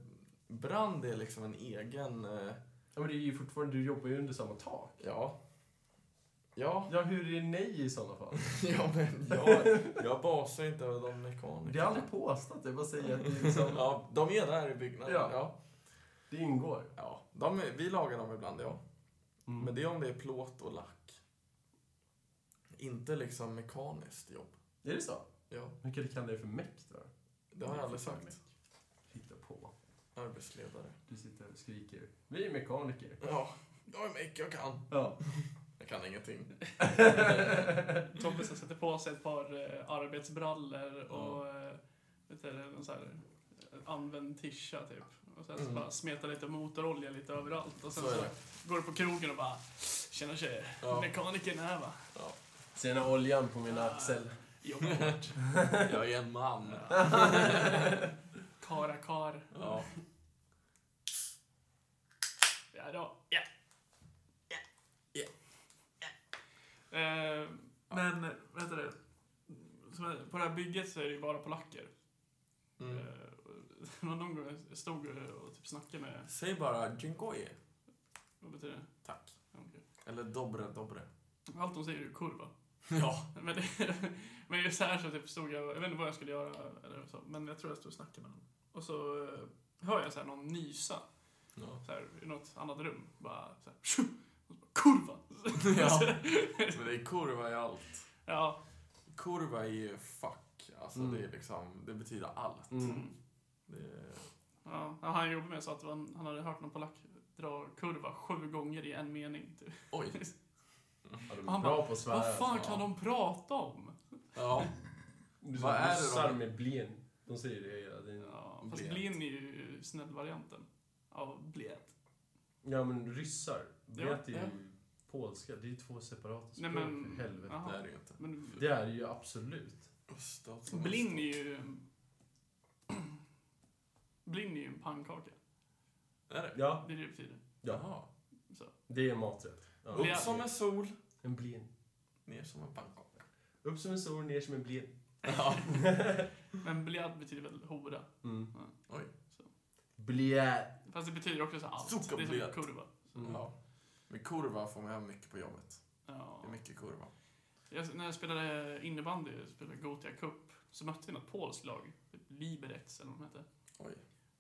Brand är liksom en egen... eh,
Ja, men det är ju fortfarande, du jobbar ju under samma tak.
Ja. Ja.
Ja, hur är det nej i sådana fall?
Ja, men jag, jag basar inte över de mekanikerna.
Det är aldrig påstått, jag bara säger att det, är liksom,
Ja, de är där i byggnaden.
Ja.
Ja.
det ingår.
ja. De, är- vi lagar dem ibland, ja.
Mm.
Men det är om det är plåt och lack. Inte liksom mekaniskt jobb.
Är det så?
Ja,
Hur kan du kalla det för mäkt då?
det har jag aldrig sagt.
Hitta på.
Arbetsledare.
Du sitter och skriker. Vi är mekaniker.
Ja, jag är mek, jag kan.
Ja.
Jag kan ingenting.
Tobbe som sätter på sig ett par eh, arbetsbrallor och eh, vet du, en så här, eh, använd tisha typ. Och sen så
Mm.
bara smeta lite motorolja lite överallt. Och sen
Så
så,
är det.
går du på krogen och bara Tjena tjejer,
Ja.
mekanikern här va?
Ja.
Ser den här oljan på min axel.
Jobbar hårt.
Jag är en man.
Kara kar.
Ja.
Ja då. Ja. Ja. Ja. Ja. Eh, Men, vad heter det? Som är- På det här bygget så är det ju bara polacker.
Mm.
Eh, och- Någon gång jag stod och typ snackade med...
Säg bara Djingoje.
Vad betyder det?
Tack.
Ja, okej.
Eller Dobre Dobre.
Allt de säger är ju kurva.
Ja.
Men, det, men just här så typ stod jag, jag vet inte vad jag skulle göra eller så, men jag tror jag stod och snackade med någon. Och så eh, hör jag så här någon nysa
ja.
så här, i något annat rum. Bara så här, tju! Och så bara, kurva!
ja. Men det är kurva i allt.
Ja.
Kurva är ju fuck. Alltså
Mm.
det är liksom, det betyder allt.
Mm.
Det är,
ja. ja han jobbade med så att han, han hade hört någon polack dra kurva sju gånger i en mening. Typ.
oj.
Ja, de är
Han
bra på att svära.
Vad fan
ja.
kan de prata om?
Ja.
Du
Vad är det
Ryssar
de-
med blin. De säger det hela tiden.
Ja, fast
Blät.
blin är ju snällvarianten av blät.
Ja, men ryssar.
Ja,
Vet ju
ja.
polska. Det är ju två separata
Nej,
språk,
men-
för helvete.
Jaha.
Alltså, Det är det ju inte.
Men
Det är det ju absolut.
Östat som
blin
östat.
är ju... Blin är ju en pannkaka.
Är det?
Ja,
Det är det det betyder.
ja.
Jaha.
det är maträtt.
Blin-
Upp som en sol,
En blin.
ner som en pannkaka.
Upp som en sol, ner som en blin.
Ja.
Men blöt betyder väl hora.
Mm.
Oj.
Blä.
Fast det betyder också så här allt.
Zuckerblöt.
Det är som kurva.
Mm.
Ja. Med kurva får man hem mycket på jobbet.
Ja.
Det är mycket kurva.
Jag, när jag spelade innebandy, jag spelade Gothia Cup, så mötte vi något polskt lag. Typ Liberec eller vad de hette.
Oj.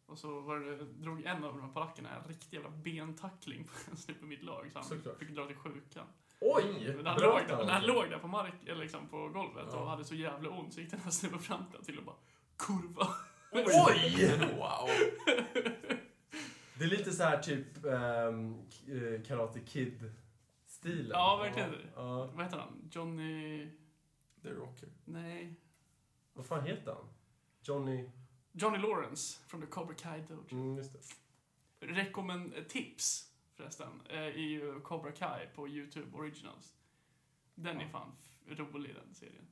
Och så var det, drog en av de här polackerna en riktig jävla bentackling på en snubbe i mitt lag. Så han
Såklart.
fick dra till sjukan.
Oj!
Men när han,
Bra
låg där, när han
tanke.
låg där på, mark, eller liksom på golvet
Ja.
och hade så jävla ont så gick den här snubben fram till och bara Kurva!
Oj!
Wow.
Det är lite så här typ ehm, k- eh, Karate Kid-stilen.
Ja, verkligen.
Ja.
Vad heter han? Johnny...
Det är rocker.
Nej.
Vad fan heter han? Johnny...
Johnny Lawrence från The Cobra Kai Dojo.
Mm, just det.
Rekommend tips förresten eh, är ju Cobra Kai på YouTube Originals. Den är
Ja.
fan f- rolig den serien.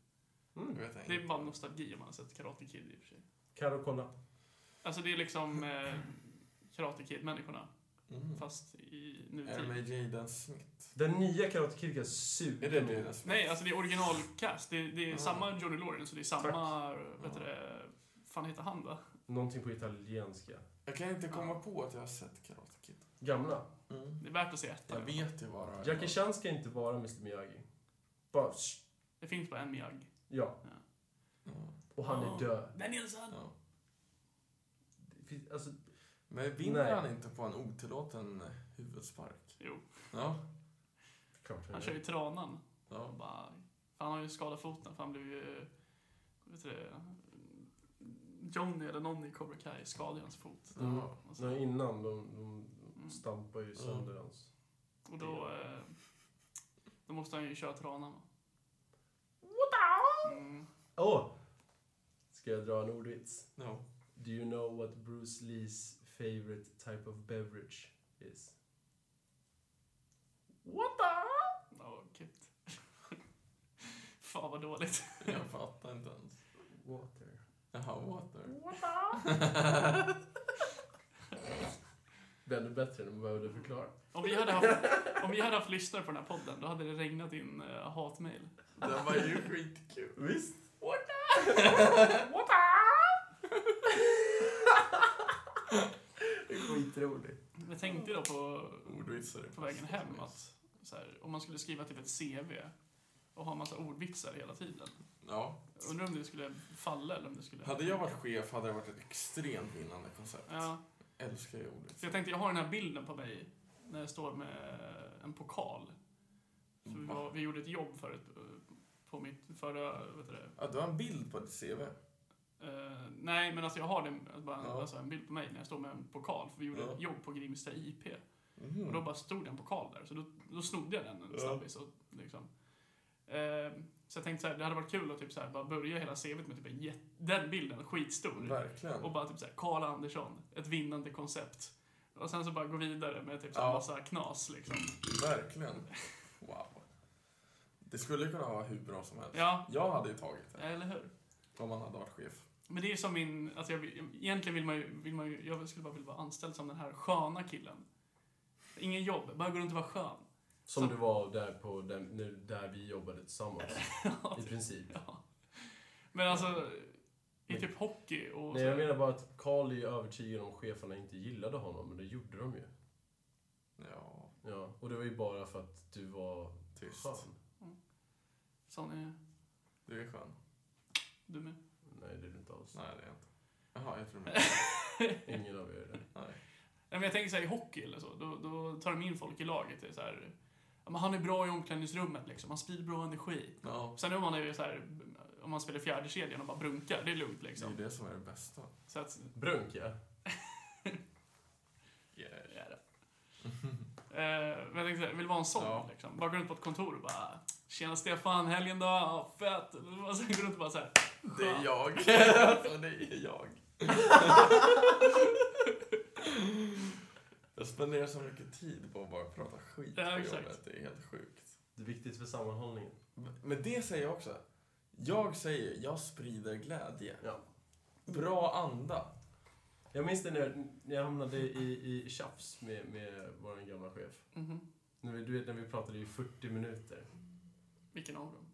Det
Mm.
vet jag
Det är
inte.
bara nostalgi om man har sett Karate Kid i och för sig.
Karo, kolla.
Alltså det är liksom eh, Karate Kid-människorna
Mm.
fast i
Är det
nutid.
med Jaden Smith?
Den nya Karate Kid kan suga
Är det
mig.
Jaden Smith?
Nej, alltså det är originalcast. Det, är- det är
Ja.
samma Johnny Lawrence och det är samma, vet du
Ja.
det, fan heter han då?
Någonting på italienska.
Jag kan inte komma på att jag har sett Karate Kid.
Gamla.
Det är värt att se ettan.
Jag vet ju vad det är.
Jackie Chan ska inte vara Mr Miyagi. Bara, sh-
Det finns bara en Miyagi.
ja.
Ja.
Och han är
Ja.
död.
Danielsson!
Mm. Ja.
Det finns- Alltså,
Men vinner
Nej.
han inte på en otillåten huvudspark?
Jo,
Ja.
klart
han
han
kör
är.
ju tranan. Och
ja.
bara, för han har ju skadat foten för han blev ju... Vet du det? Johnny eller någon i Cobra Kai skadade ju hans fot.
Mm.
Ja.
Och, så,
Nej, innan. De, de
Mm.
stampar ju sönder hans...
och då... eh, Då måste han ju köra tranan. va? Mm.
Åh! Ska jag dra en ordvits?
No.
Do you know what Bruce Lees favorite type of beverage is?
What the? Ja, cute. Fan vad dåligt.
Jag fattar inte ens.
Water.
Jaha, water.
Det är ännu bättre när man behövde förklara.
Om vi, hade haft, om vi hade haft lyssnare på den här podden, då hade det regnat in uh, hatmejl.
Den var ju skitkul.
Visst? Skitroligt.
Jag tänkte då på,
Ordvitsar. är
på vägen hem alltså.
fantastiskt.
att så här, om man skulle skriva typ ett CV och ha en massa ordvitsar hela tiden.
Ja.
Undrar om det skulle falla eller om det skulle...
Hade jag varit chef hade det varit ett extremt vinnande koncept.
Ja,
Älskar ju ordet.
så jag tänkte, jag har den här bilden på mig när jag står med en pokal. För
Ah.
vi, var, vi gjorde ett jobb förut eh, på mitt förra, vad heter det,
Ja, du har en bild på ditt CV.
Eh, nej, men alltså jag har det, bara,
Ja.
alltså, en bild på mig när jag står med en pokal, för vi gjorde
Ja.
ett jobb på Grimsta IP.
Mm.
Och då bara stod det en pokal där, så då, då snodde jag den en
Ja.
snabbis. Och, liksom. Eh, Eh, så jag tänkte så här, det hade varit kul att typ så här, bara börja hela CVt med typ en jätte, den bilden, skitstor.
Verkligen.
Och bara typ så här, Karl Andersson, ett vinnande koncept. Och sen så bara gå vidare med typ så här,
Ja.
massa knas liksom.
Verkligen. Wow. Det skulle kunna vara hur bra som helst.
Ja,
Jag hade ju tagit det,
eller hur?
om man hade varit chef.
Men det är ju som min, alltså jag, vill- egentligen vill man ju, vill man ju, jag skulle bara vilja vara anställd som den här sköna killen. Ingen jobb, bara gå runt och vara skön.
Som
Så-
du var där, på den, nu, där vi jobbade tillsammans. I princip.
Ja. Men alltså, i typ hockey och
Nej,
så-
jag menar bara att Carl är ju övertygad om cheferna inte gillade honom, men det gjorde de ju.
Ja,
Ja, och det var ju bara för att du var
tyst.
skön.
Sån är
Du är skön.
du med.
Nej, det är du inte alls.
Nej, det är jag inte. Jaha, jag tror det.
Ingen av er är det.
Nej.
Nej, men jag tänker såhär i hockey eller så, då, då tar de in folk i laget. Det är så här, ja, men han är bra i omklädningsrummet liksom, han sprider bra energi.
Ja,
Sen om man är så här, om man spelar fjärde kedjan och bara brunkar, det är lugnt
det är ju
liksom.
det som är det bästa.
Så att,
Brunk, ja.
det är det. Eh, men jag tänkte, så här, jag vill vara en sån
Ja.
liksom. Bara gå runt på ett kontor och bara Tjena Stefan, helgen då? Ja, fett! Och sen går runt och bara såhär
Det är jag. Alltså, det är jag. Jag spenderar så mycket tid på att bara prata skit på
Ja, exakt.
jobbet. Det är helt sjukt.
Det är viktigt för sammanhållningen.
Men det säger jag också. Jag säger, jag sprider glädje.
Ja.
Bra anda.
Jag minns det när när jag hamnade i, i tjafs med, med vår gamla chef.
mhm,
När vi, du vet, när vi pratade i 40 minuter.
Vilken av dem?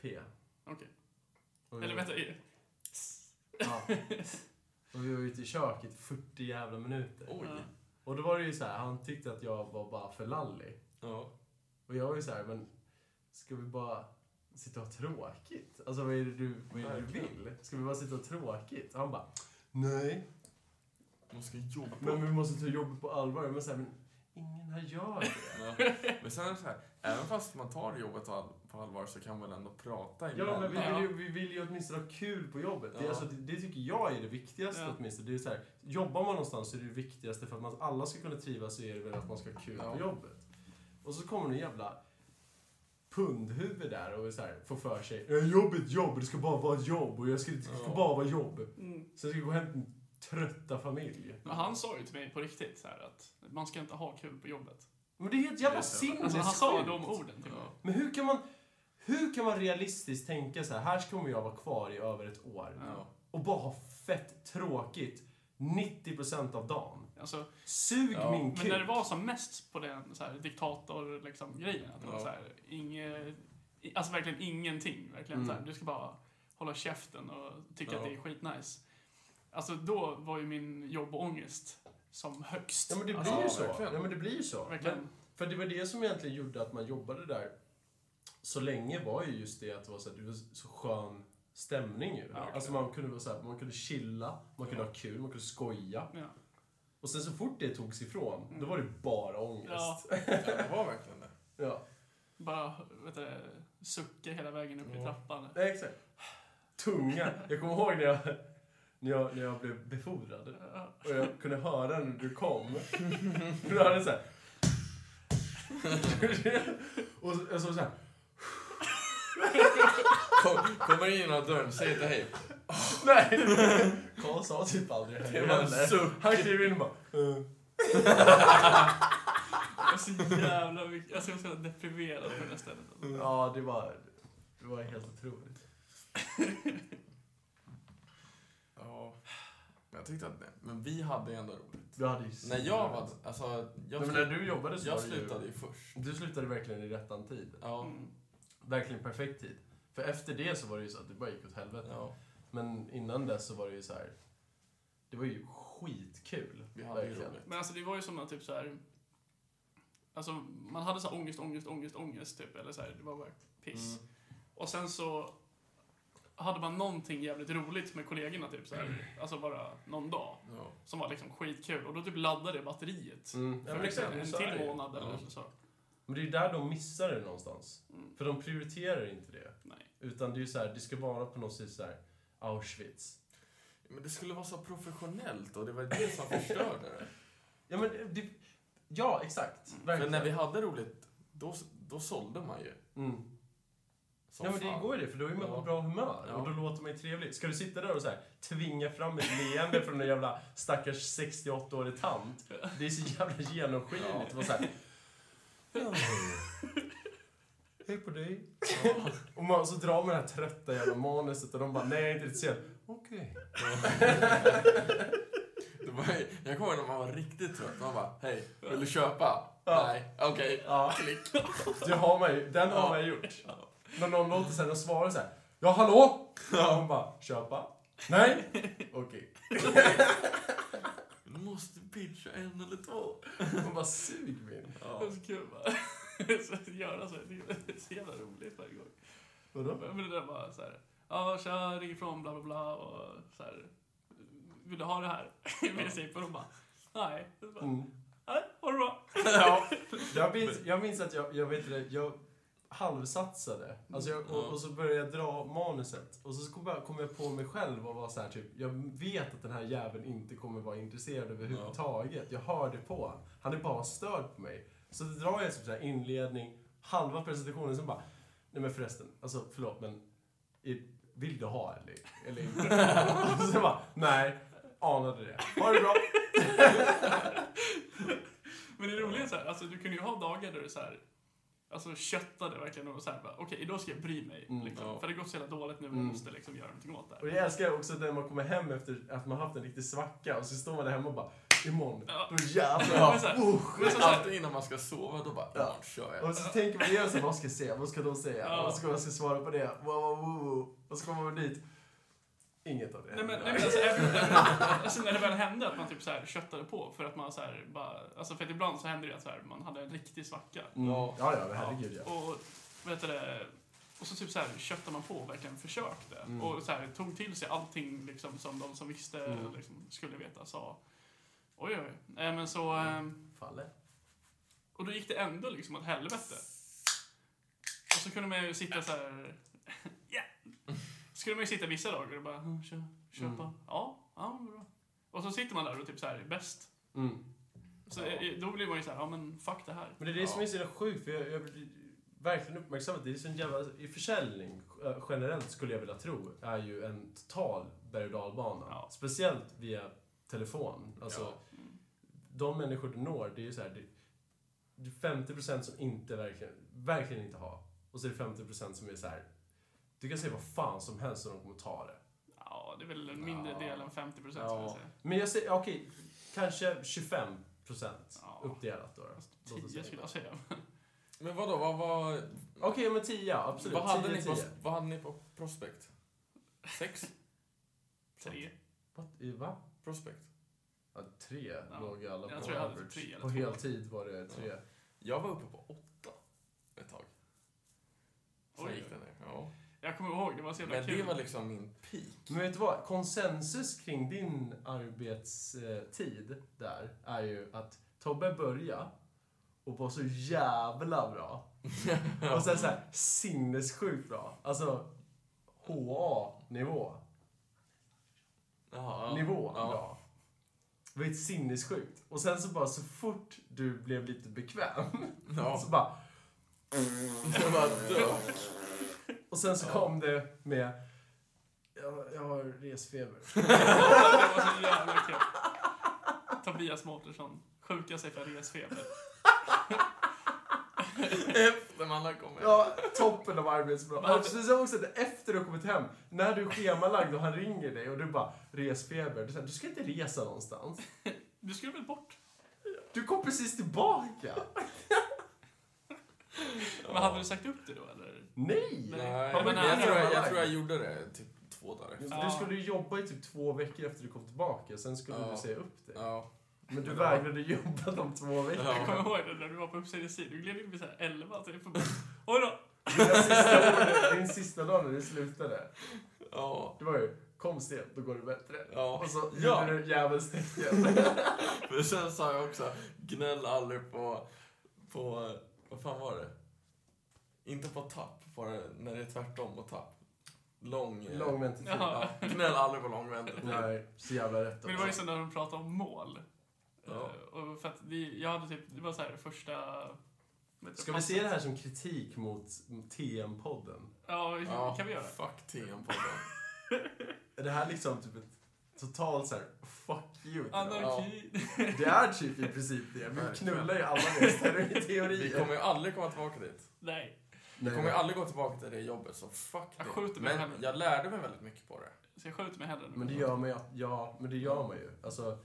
P.
Okej.
Och vi-
Eller vänta, eh,
Ja. Och vi var ute i köket i 40 jävla minuter.
Oj.
Ja.
Och då var det ju så här, han tyckte att jag var bara för lallig.
Ja.
Och jag var ju så här, men ska vi bara sitta och ha tråkigt? Alltså vad är det du, vad är det du
Verkligen.
vill? Ska vi bara sitta och ha tråkigt? Och han bara, nej.
Man ska jobba.
Men vi måste ta jobbet på allvar. Men, så här, men ingen här gör det.
Ja. Men sen är det så här, även fast man tar jobbet all- på allvar så kan man väl ändå prata
Ja, men vi
Ja.
vill, ju, vi vill ju åtminstone ha kul på jobbet. Det, är
Ja.
alltså, det, det tycker jag är det viktigaste
Ja.
åtminstone. Det är så här, jobbar man någonstans så är det det viktigaste för att man, alla ska kunna trivas så är det väl att man ska ha kul
Ja.
på jobbet. Och så kommer en jävla pundhuvud där och så här, får för sig "Ja, jobb är ett jobb, det ska bara vara ett jobb och jag ska, det ska
Ja.
bara vara jobb.
mm.
Så jag ska gå hem till min trötta familj.
Men han sa ju till mig på riktigt så här att man ska inte ha kul på jobbet.
Men det är helt jävla
Det är det.
Alltså han sa
sinnessjukt.
de orden till mig.
Ja.
Men hur kan man, hur kan man realistiskt tänka så här, här kommer jag vara kvar i över ett år.
Ja.
och bara ha fett tråkigt 90% av dagen.
Alltså,
Sug
Ja,
min
men
kuk.
när det var som mest på den så här, diktator liksom, grejen, att det var
Ja.
så här, inge, i- alltså verkligen ingenting. Verkligen,
Mm.
så här, du ska bara hålla käften och tycka
Ja.
att det är skitnice. Alltså då var ju min jobbångest som högst.
Ja men det blir
alltså,
ju
Ja,
så.
verkligen.
Ja, men det blir ju så.
verkligen.
Men, för det var det som egentligen gjorde att man jobbade där så länge var ju just det att det var så, här, det var så skön stämning ju.
verkligen.
alltså man kunde vara så här, man kunde chilla, man kunde ha kul, man kunde skoja.
Ja.
Och sen så fort det togs ifrån,
Mm.
då var det bara ångest. Ja.
Ja, det var verkligen det.
Bara vet du, sucka hela vägen upp i
Ja.
trappan.
Nej, exakt. Tunga. Jag kommer ihåg när jag, när jag, när jag blev befordrad.
Ja.
Och jag kunde höra när du kom. För du hade så här. Och så- jag såg så här.
Kom, kommer in genom dörren, säg inte hej.
Nej! Karl sa typ aldrig hej
Det var en
heller.
suck.
Han klev in och bara. "Eh."
Alltså jävla mycket. Alltså jag var så jävla deprimerad på det här stället. Alltså.
Ja, det var, det var helt otroligt.
Ja. Men jag tyckte att nej. Men vi hade ändå roligt.
Du hade ju...
När jag var... Alltså,
Nej,
jag,
men när du jobbade så
jag
var det ju-
slutade ju först.
Du slutade verkligen i rättan tid.
Ja.
Mm.
Verkligen perfekt tid. För efter det så var det ju så att det bara gick åt helvete.
ja.
Men innan dess så var det ju så här. Det var ju skitkul.
Vi hade ju
verkligen.
roligt.
Men alltså det var ju som att typ så här. Alltså man hade så här ångest, ångest, ångest, ångest typ. Eller så här, det var bara piss.
Mm.
Och sen så hade man någonting jävligt roligt med kollegorna typ så här. Alltså bara någon dag.
Ja.
Som var liksom skitkul. Och då typ laddade det batteriet.
Mm. Ja,
För
men exakt.
en, en
så är det
till
ju.
månad eller
Ja.
så.
Men det är ju där de missar det någonstans.
Mm.
För de prioriterar inte det.
Nej.
Utan det är ju så här, det ska vara på något sätt så här Auschwitz.
Men det skulle vara så professionellt och det var det som förstörde det.
Ja, men det- det, ja exakt.
För
Verkligen.
när vi hade roligt, då, då sålde man ju.
mm.
Som
Ja men det
fan.
går ju det, för då är man på
Ja.
bra humör
Ja.
och då låter man ju trevlig. Ska du sitta där och så här, tvinga fram ett leende från en jävla stackars 68-årig tant? Det är så jävla
Ja.
genomskinligt. Ja. Så här, "Ja, Hej på dig. och man, så drar man det här trötta jävla manuset och de bara, nej jag är inte intresserad. Okej.
Det var, jag kommer ihåg när man var riktigt trött. Man bara, hej, vill du köpa?
Ja.
Nej, okej.
Ja.
Klick.
Det har man ju, den har man ju gjort. När någon låter sen och svarar så här, ja hallå? Och hon bara, köpa? Nej? Okej.
Du måste pitcha en eller två.
Hon bara, sug min.
Det är så kul bara. Så att göra så. Det är så jävla roligt varje gång.
Vadå?
Men det där bara så här. Ja, tja, ring ifrån, bla bla bla och så här. Vill du ha det här? I princip. Och de bara, nej. Och så bara,
Mm.
Nej, ha det bra.
ja, jag, minns, jag minns att jag, jag, vet inte, jag halvsatsade. Alltså jag, och, och så började jag dra manuset. Och så kom jag, kom jag på mig själv och var så här typ, jag vet att den här jäveln inte kommer vara intresserad överhuvudtaget. Jag hör det på honom. Han är bara störd på mig. Så då drar jag typ så här inledning, halva presentationen, sen bara, nej men förresten, alltså förlåt men, i- vill du ha eller, eller inte? och så bara, nej, anade det. Ha det bra.
Men det roliga är så här, alltså du kan ju ha dagar där du så här, alltså köttade verkligen och så här bara, okej, idag ska jag bry mig.
Mm,
liksom.
ja.
För det har gått så jävla dåligt nu, man
Mm.
måste liksom göra någonting åt det
Och
här.
jag älskar också när man kommer hem efter att man haft en riktig svacka och så står man där hemma och bara Imorgon,
Ja.
då jävlar.
Men så här, men så här,
Alltid alltså, innan man ska sova, då bara,
Ja.
ja, kör jag.
Och så tänker man igen så här, vad ska jag säga, vad ska de säga?
Ja.
Och så kommer jag ska svara på det. Wow, wow, wow, wow. Och så kommer man dit. Inget av det.
Nej men, nej, men alltså, även, även, alltså när det väl hände att man typ så här köttade på för att man så här bara, alltså för att ibland så händer det att så här, man hade en riktig svacka.
Mm. Ja, ja, men herregud ja.
Och, vet du, det, och så typ så här köttade man på och verkligen försökte.
Mm.
Och så här, tog till sig allting liksom, som de som visste
Mm.
liksom, skulle veta sa. Oj, oj, oj. Eh, men så, eh,
Falle.
och då gick det ändå liksom åt helvete. Och så kunde man ju sitta så här... Ja! Så kunde man ju sitta vissa dagar och bara "Mm, kö, köpa. Ja, ja, men bra. Och så sitter man där och typ så här är bäst.
Mm.
Så
Ja.
eh, då blir man ju så här, ja men fuck det här.
Men det är det som är så jävla sjukt, för jag, jag blir verkligen uppmärksam att det är så en jävla... I försäljning, eh, generellt skulle jag vilja tro, är ju en total berg och dalbana.
Ja.
Speciellt via telefon. Alltså,
Ja.
de människor du når, det är ju så här, det, det är 50% som inte verkligen, verkligen inte har. Och så är det 50% som är så här. du kan säga vad fan som helst och de kommer ta det.
Ja, det är väl en mindre
Ja.
del än 50 procent
Ja.
skulle jag säga.
Men jag säger, okej, kanske 25%
Ja.
uppdelat då. då.
Fast
Låt oss säga.
10 skulle jag säga.
Men vadå, vad var...
Okej, men 10, absolut.
Vad hade,
10,
ni på,
10.
vad hade ni på prospect? Sex?
Tre.
What? I- Va?
Prospect.
Ja, tre
Ja,
låg ju alla
jag
på
tror jag hade
average.
tre eller två.
på heltid var det tre.
Jag var uppe på åtta ett tag. Sen
Oj.
gick det ner. Ja.
Jag kommer ihåg, det var så jävla
Men
kul.
det var liksom min peak.
Men vet du vad? Konsensus kring din arbetstid där är ju att Tobbe började och var så jävla bra. Och sen så här sinnessjukt bra. Alltså HA-nivå.
Jaha, ja.
Nivå
Ja.
bra. Det var ju sinnessjukt. Och sen så bara så fort du blev lite bekväm
Ja.
så bara
Jag bara dör.
Och sen så kom det med jag, jag har resfeber.
det var så jävla kul. Tobias Mårtensson, sjuka sig för resfeber.
Efter man har kommit.
Ja, toppen av arbetsbra. Och så sa också att efter du har kommit hem, när du är schemalagd och han ringer dig och du bara resfeber. Du, säger, du ska inte resa någonstans.
Du skulle väl bort?
Du kom precis tillbaka.
Men hade du sagt upp det då eller?
Nej!
Nej,
Ja,
men
men
jag,
han-
tror jag, jag tror jag gjorde det typ två dagar efter.
Du skulle ju jobba i typ två veckor efter du kom tillbaka, sen skulle
Ja.
du säga upp dig.
Ja.
Men du vägrade jobba de två veckorna.
Jag kommer
Ja.
ihåg det när du var på uppsägningstid. Du gled in vid såhär 11 typ. och bara, Oj då!
Dina sista år- Din sista dag när du slutade,
Ja.
det var ju kom sent, då går det bättre.
Ja.
Och så
Ja.
gjorde du djävulstecken.
Men sen sa jag också, gnäll aldrig på, på, eh, vad fan var det? Inte på tapp, bara när det är tvärtom på tapp. Lång... eh,
Lång väntetid.
Jaha.
Ja, gnäll aldrig på lång väntetid.
Nej, så jävla rätt
Men det var ju
också.
så när de pratade om mål.
Ja.
Eh, Och för att det, jag hade typ, det var så här första Men-
Ska vi se det här som kritik mot TM-podden?
Ja, vi-
Ja,
kan vi göra.
Fuck TM-podden.
Är det här liksom typ ett totalt så här, fuck you? till dem?
Anarki.
Det är typ i princip det. Vi
Verkligen.
knullar ju alla deras
Vi
teorier.
kommer ju aldrig komma tillbaka dit.
Nej,
Nej,
Vi kommer ju aldrig gå tillbaka till det jobbet, så fuck
Jag
det.
skjuter mig
Men
hellre.
jag lärde mig väldigt mycket på det.
så jag skjuter mig hellre nu.
Men det gör man ju. Ja, men det gör man ju. Alltså,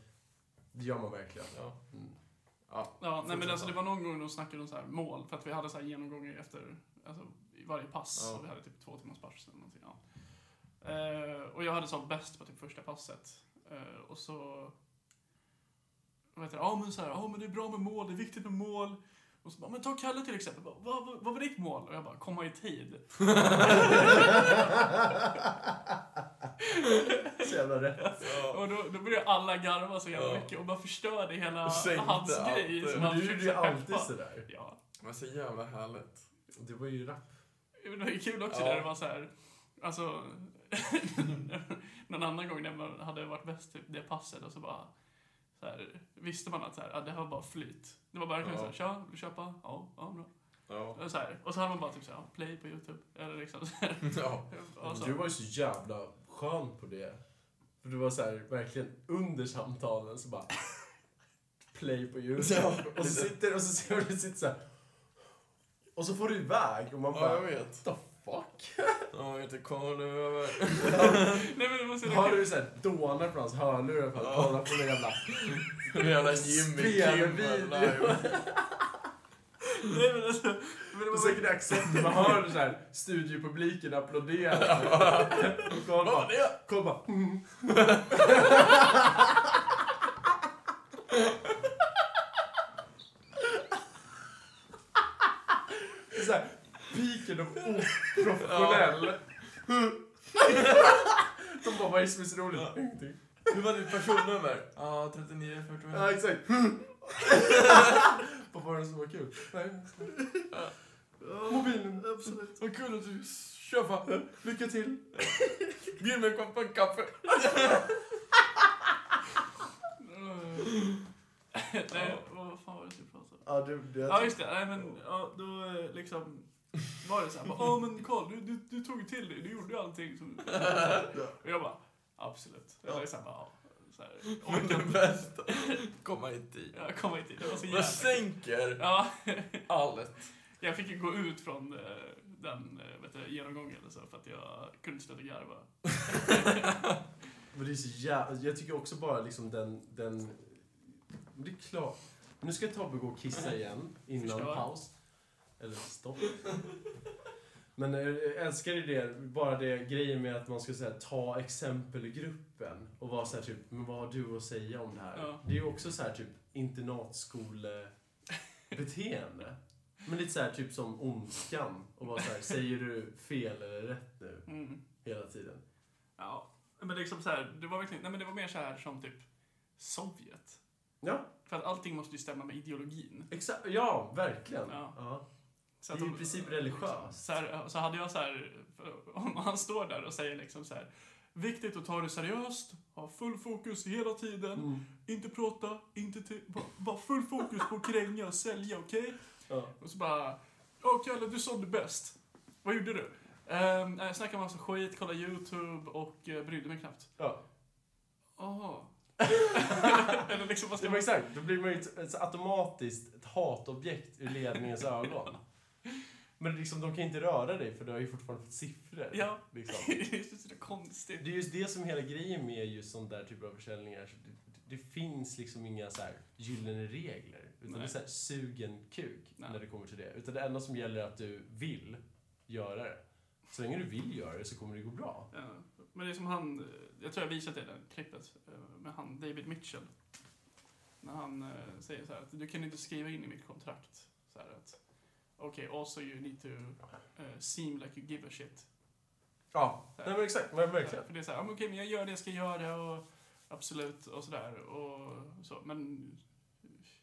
det gör man verkligen.
Ja.
Mm.
Ja.
Ja, nej, men
Fortsätt.
alltså, det var någon gång de snackade om så här mål, för att vi hade så här genomgångar efter alltså, i varje pass,
Ja.
och vi hade typ två timmars pass eller någonting. Ja. Eh, och jag hade sålt bäst på typ första passet. Eh, och så... Vad heter det? Ja, men så här, ja, men det är bra med mål, det är viktigt med mål. Och så bara, men ta Kalle till exempel. Bara, Vad, vad, vad var ditt mål? Och jag bara, komma i tid.
Så jävla rätt.
Och då, då började alla garva så jävla
Ja.
mycket och bara förstörde hela
Sänkte
hans
allt
grej.
det.
som
Men
han
du gjorde
försökte
ju
peppa.
alltid sådär.
Ja.
Men så jävla härligt.
Det var ju rap.
Det var ju kul också
Ja.
när det var så här, alltså, någon annan gång när man hade varit bäst typ det passet och så bara, så här, visste man att så här, ah, det här var bara flyt. Det var verkligen
Ja.
så här, tja, vill du köpa? Ja, ja bra.
Ja.
Och Så här, och så hade man bara typ så här, "Ja, play på YouTube, eller liksom så här. "Alltså,
ja.
Och så,
Du var ju så jävla skön på det. För du var så här, verkligen under samtalen så bara play på YouTube.
Ja,
och så sitter och så ser du sitter så här. Och så får du iväg och man
ja, jag
bara
vet.
what the fuck?
Ja, inte kommer du över.
nej men det var så jävla
Har
kul.
du såhär dånar på hans hörlurar för att kolla på den jävla
Den jävla Jimmy Kimmel
Spelvideo.
live.
Nej men alltså, men det
Det är
var
säkert
verkligen-
accepten, man hör så här, studiopubliken applådera. Och Carl
Vad var
bara,
det?
Carl bara mm. Det är så här, piken av oprofessionell. De bara, vad är det som är så roligt?
Ja.
Ingenting.
Hur var ditt personnummer? Ja, 39, 41.
Ja, exakt. Vad var det som var kul? Nej. Mobilen, absolut.
Vad kul att du köpa.
Lycka till.
Bjud mig på en kaffe.
Nej, vad fan var det jag skulle prata om?
Ja, du, du,
Ja just det, nej men ja, då eh, liksom var det såhär, ja men Karl du, du, du tog ju till dig, du gjorde ju allting som... Och jag bara, absolut. Jag var ju såhär, bara, ja. Så här,
Men det
orkar inte.
bästa, komma i tid.
Jag kom inte hit, det var så
Man
jävla...
sänker
Ja,
allt.
jag fick ju gå ut från eh, den eh, vet du, genomgången eller så för att jag kunde inte sluta garva.
Men det är så jävla... Jag tycker också bara liksom den... den men det är klart. Nu ska Tobbe gå och kissa igen innan
Förstår.
paus. Eller stopp. Men eh, jag älskar ju det, bara det grejen med att man ska säga ta exempelgruppen och vara så här typ, men vad har du att säga om det här?
Ja.
Det är ju också så här typ internatskolebeteende. Men lite så här typ som ondskan och vara så här, säger du fel eller rätt nu?
Mm.
Hela tiden.
Ja, men liksom så här, det var verkligen, nej men det var mer så här som typ Sovjet.
Ja.
För att allting måste ju stämma med ideologin.
Exakt, ja, verkligen.
Ja.
Ja.
Så att
Det är i
de-
princip religiöst.
Så, här, så hade jag så här, om han står där och säger liksom så här, viktigt att ta det seriöst, ha full fokus hela tiden,
Mm.
inte prata, inte te- bara, bara full fokus på att kränga och sälja, okej?
Ja.
Och så bara, ja Kalle du sålde bäst. Vad gjorde du? Ehm, jag snackade massa skit, kollade YouTube och eh, brydde mig knappt.
Ja.
Jaha. Eller liksom, vad
Det
ska
var
man
exakt, då blir man ju ett, ett automatiskt ett hatobjekt ur ledningens ögon. Men liksom, de kan inte röra dig för du har ju fortfarande fått siffror.
Ja.
Liksom.
det är så konstigt.
Det är just det som hela grejen med just sån där typ av försäljningar. Så Det, det finns liksom inga så här gyllene regler. Utan
Nej.
det är så här sugen kuk
Nej.
när det kommer till det. Utan det enda som gäller är att du vill göra det. Så länge du vill göra det så kommer det gå bra.
Ja, Eh, Men det är som han, eh, jag tror jag visat det där klippet eh, med han David Mitchell. När han eh, säger så här att du kan inte skriva in i mitt kontrakt så här att okej, also you need to eh, seem like you give a shit. Eh,
Ja, nej men exakt, men verkligen.
För det är så här, "Ja, men okej men jag gör det jag ska göra och absolut och sådär och så men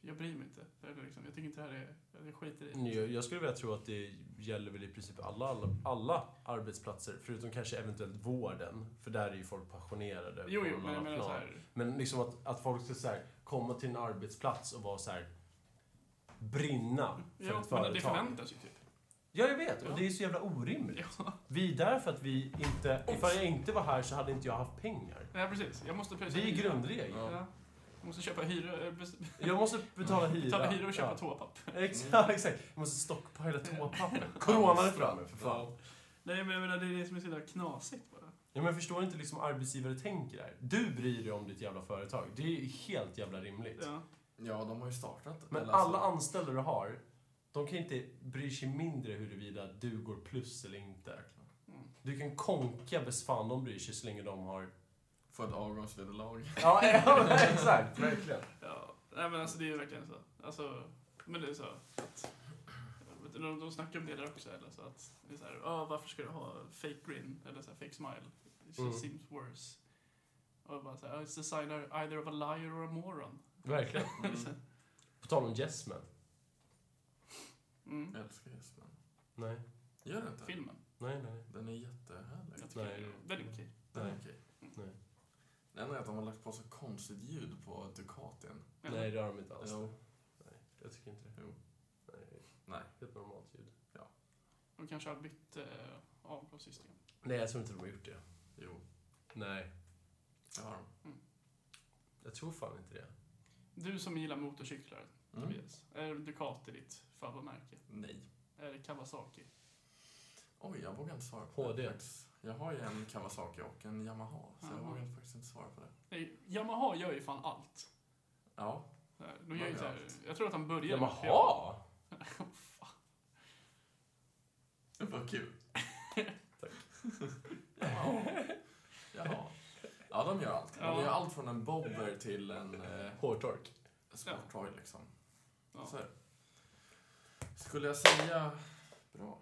jag bryr mig inte. Eller liksom, jag tycker inte det här är, jag skiter i det.
Jag, jag skulle vilja tro att det gäller väl i princip alla, alla, alla arbetsplatser, förutom kanske eventuellt vården, för där är ju folk passionerade. på
Jo, jo,
någon
men jag
annan
menar så
plan.
här,
Men liksom att, att folk ska så här, komma till en arbetsplats och vara så här brinna för
Ja,
ett
men det
företag.
förväntas ju typ.
Ja, jag vet.
Ja.
Och det är så jävla orimligt.
Ja.
Vi är där för att vi inte... Ifall jag inte var här så hade inte jag haft pengar.
Nej, precis. Jag måste pröjsa
Det är
hyra.
grundregeln.
Ja. Jag måste köpa hyra, eh, bes-
Jag måste betala hyra.
betala hyra och köpa
Ja.
toapapper.
Exakt, exakt. Jag måste stockpila toapapper. Corona är framme, för fan.
Nej, men jag menar, det är det som är så jävla knasigt bara.
Ja, men jag förstår inte liksom arbetsgivare tänker där. Du bryr dig om ditt jävla företag. Det är helt jävla rimligt.
Ja.
Ja, de har ju startat.
Men
Eller
alla
alltså,
anställda du har, de kan inte bry sig mindre huruvida du går plus eller inte.
Mm.
Du kan konka bäst fan de bryr sig så länge de har...
Får ett avgångsvederlag.
Ja, ja men exakt. Verkligen.
Ja, nej men alltså det är ju verkligen så. Alltså, men det är så att... jag vet inte, De, de snackar om det där också, eller så att det är så här, "Ah, varför ska du ha fake grin eller så här, fake smile? It just
Mm.
seems worse. Och bara så här, "Ah, it's a sign either of a liar or a moron.
Verkligen.
Mm.
På tal om yes men.
Mm.
Jag älskar Jesper.
Nej,
Gör det inte?
Filmen.
nej, nej.
Den är jättehärlig.
Jag tycker
Nej.
det är väldigt okej.
Den
Nej.
är okej.
Nej.
Det enda är att de har lagt på så konstigt ljud på Ducatin.
Ja.
Nej, det har de inte alls.
Jo.
Jag tycker inte det.
Jo.
Nej,
Nej.
helt normalt ljud.
De kanske har bytt eh, avgassystem.
Nej, jag tror inte de har gjort det.
Jo.
Nej,
Det har de.
jag tror fan inte det.
Du som gillar motorcyklar,
Mm.
Tobias. Är Ducati ditt favoritmärke?
Nej.
Är det Kawasaki?
Oj, jag vågar inte svara på
HD.
det. faktiskt. Jag har ju en Kawasaki och en Yamaha, så jag
Aha.
vågar faktiskt inte svara på det.
Nej, Yamaha gör ju fan allt.
Ja.
Så här, De gör ju
Ja,
så här,
allt.
jag tror att han började med Yamaha.
Jaha!
Vad kul. Tack. Jaha. Ja, de gör allt. De
Ja.
gör allt från en bobber till en eh,
Hårtork.
sportroy, liksom.
Ja.
Så här. Skulle jag säga... Bra.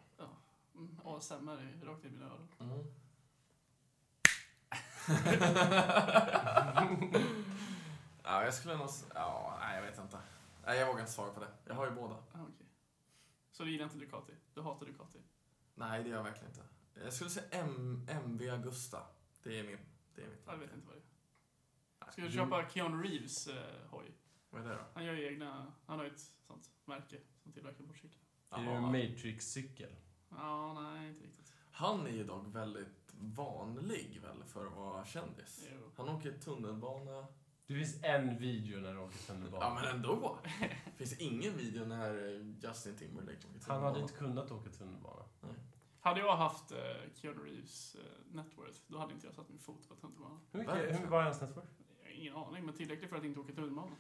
Mm, ASMR rakt i mina öron.
Mm. ja, jag skulle nog... s- Ja, nej, jag vet inte. Nej, jag vågar inte svara på det. Jag har ju båda.
Ah, okej. Så du gillar inte Ducati? Du hatar Ducati?
Nej, det gör jag verkligen inte. Jag skulle säga M- MV Augusta. Det är min. Det är mitt. Mm.
Jag vet inte vad det är. Ska du köpa Keanu Reeves eh, hoj?
Vad är det då?
Han gör ju egna, han har ju ett sånt märke som tillverkar motorcyklar.
Är det en
Jaha.
Matrix-cykel?
Ja, nej, inte riktigt.
Han är ju dock väldigt vanlig väl för att vara kändis.
Jo.
Han åker tunnelbana.
Det finns en video när du åker tunnelbana.
Ja, men ändå. Finns ingen video när Justin Timberlake åker tunnelbana.
Han hade inte kunnat åka tunnelbana.
Hade jag haft eh, Keanu Reeves eh, net worth, då hade inte jag satt min fot på tunnelbanan.
Hur
Verkligen.
mycket, hur, vad är hans network?
Jag har ingen aning, men tillräckligt för att inte åka tunnelbana.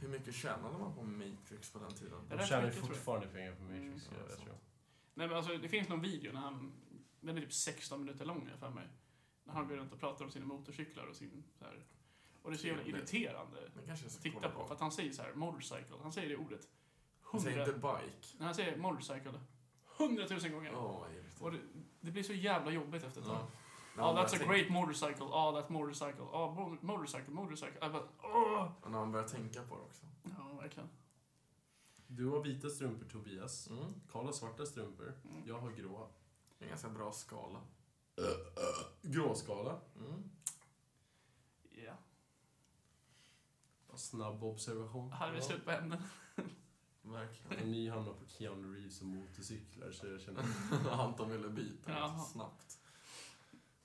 Hur mycket tjänade man på Matrix på den tiden?
Det
De
rätt
tjänar ju
mycket, tror jag.
fortfarande pengar på
Mm.
Matrix.
Ja,
jag
sant.
tror.
Nej men alltså det finns någon video när han, den är typ 16 minuter lång har jag för mig. När han går runt och pratar om sina motorcyklar och sin så här. Och det är så jävla irriterande
Men kanske jag
att
ska
titta
kolla
på. För att han säger så här, motorcycle, han säger det ordet.
Han säger
Hundra,
inte bike.
när han säger motorcycle, hundratusen gånger.
Åh, vad irriterande.
Och det, det blir så jävla jobbigt efter ett tag.
Ja. alltså-
Ah, that's a great motorcycle, ah, that motorcycle, ah, mo- motorcycle, motorcycle. Jag bara, åh!
Och när han börjar tänka på det också.
Ja, verkligen.
Du har vita strumpor, Tobias.
Mm.
Karl har svarta strumpor.
Mm.
Jag har grå.
Det är en ganska bra skala.
Gråskala.
Mm.
Ja.
Bara Snabb observation.
Här är vi
Ja.
slut på ämnen.
Verkligen.
Och ni hamnar på Keanu Reeves och motorcyklar, så jag känner...
Anton ville byta
Jaha.
ganska snabbt.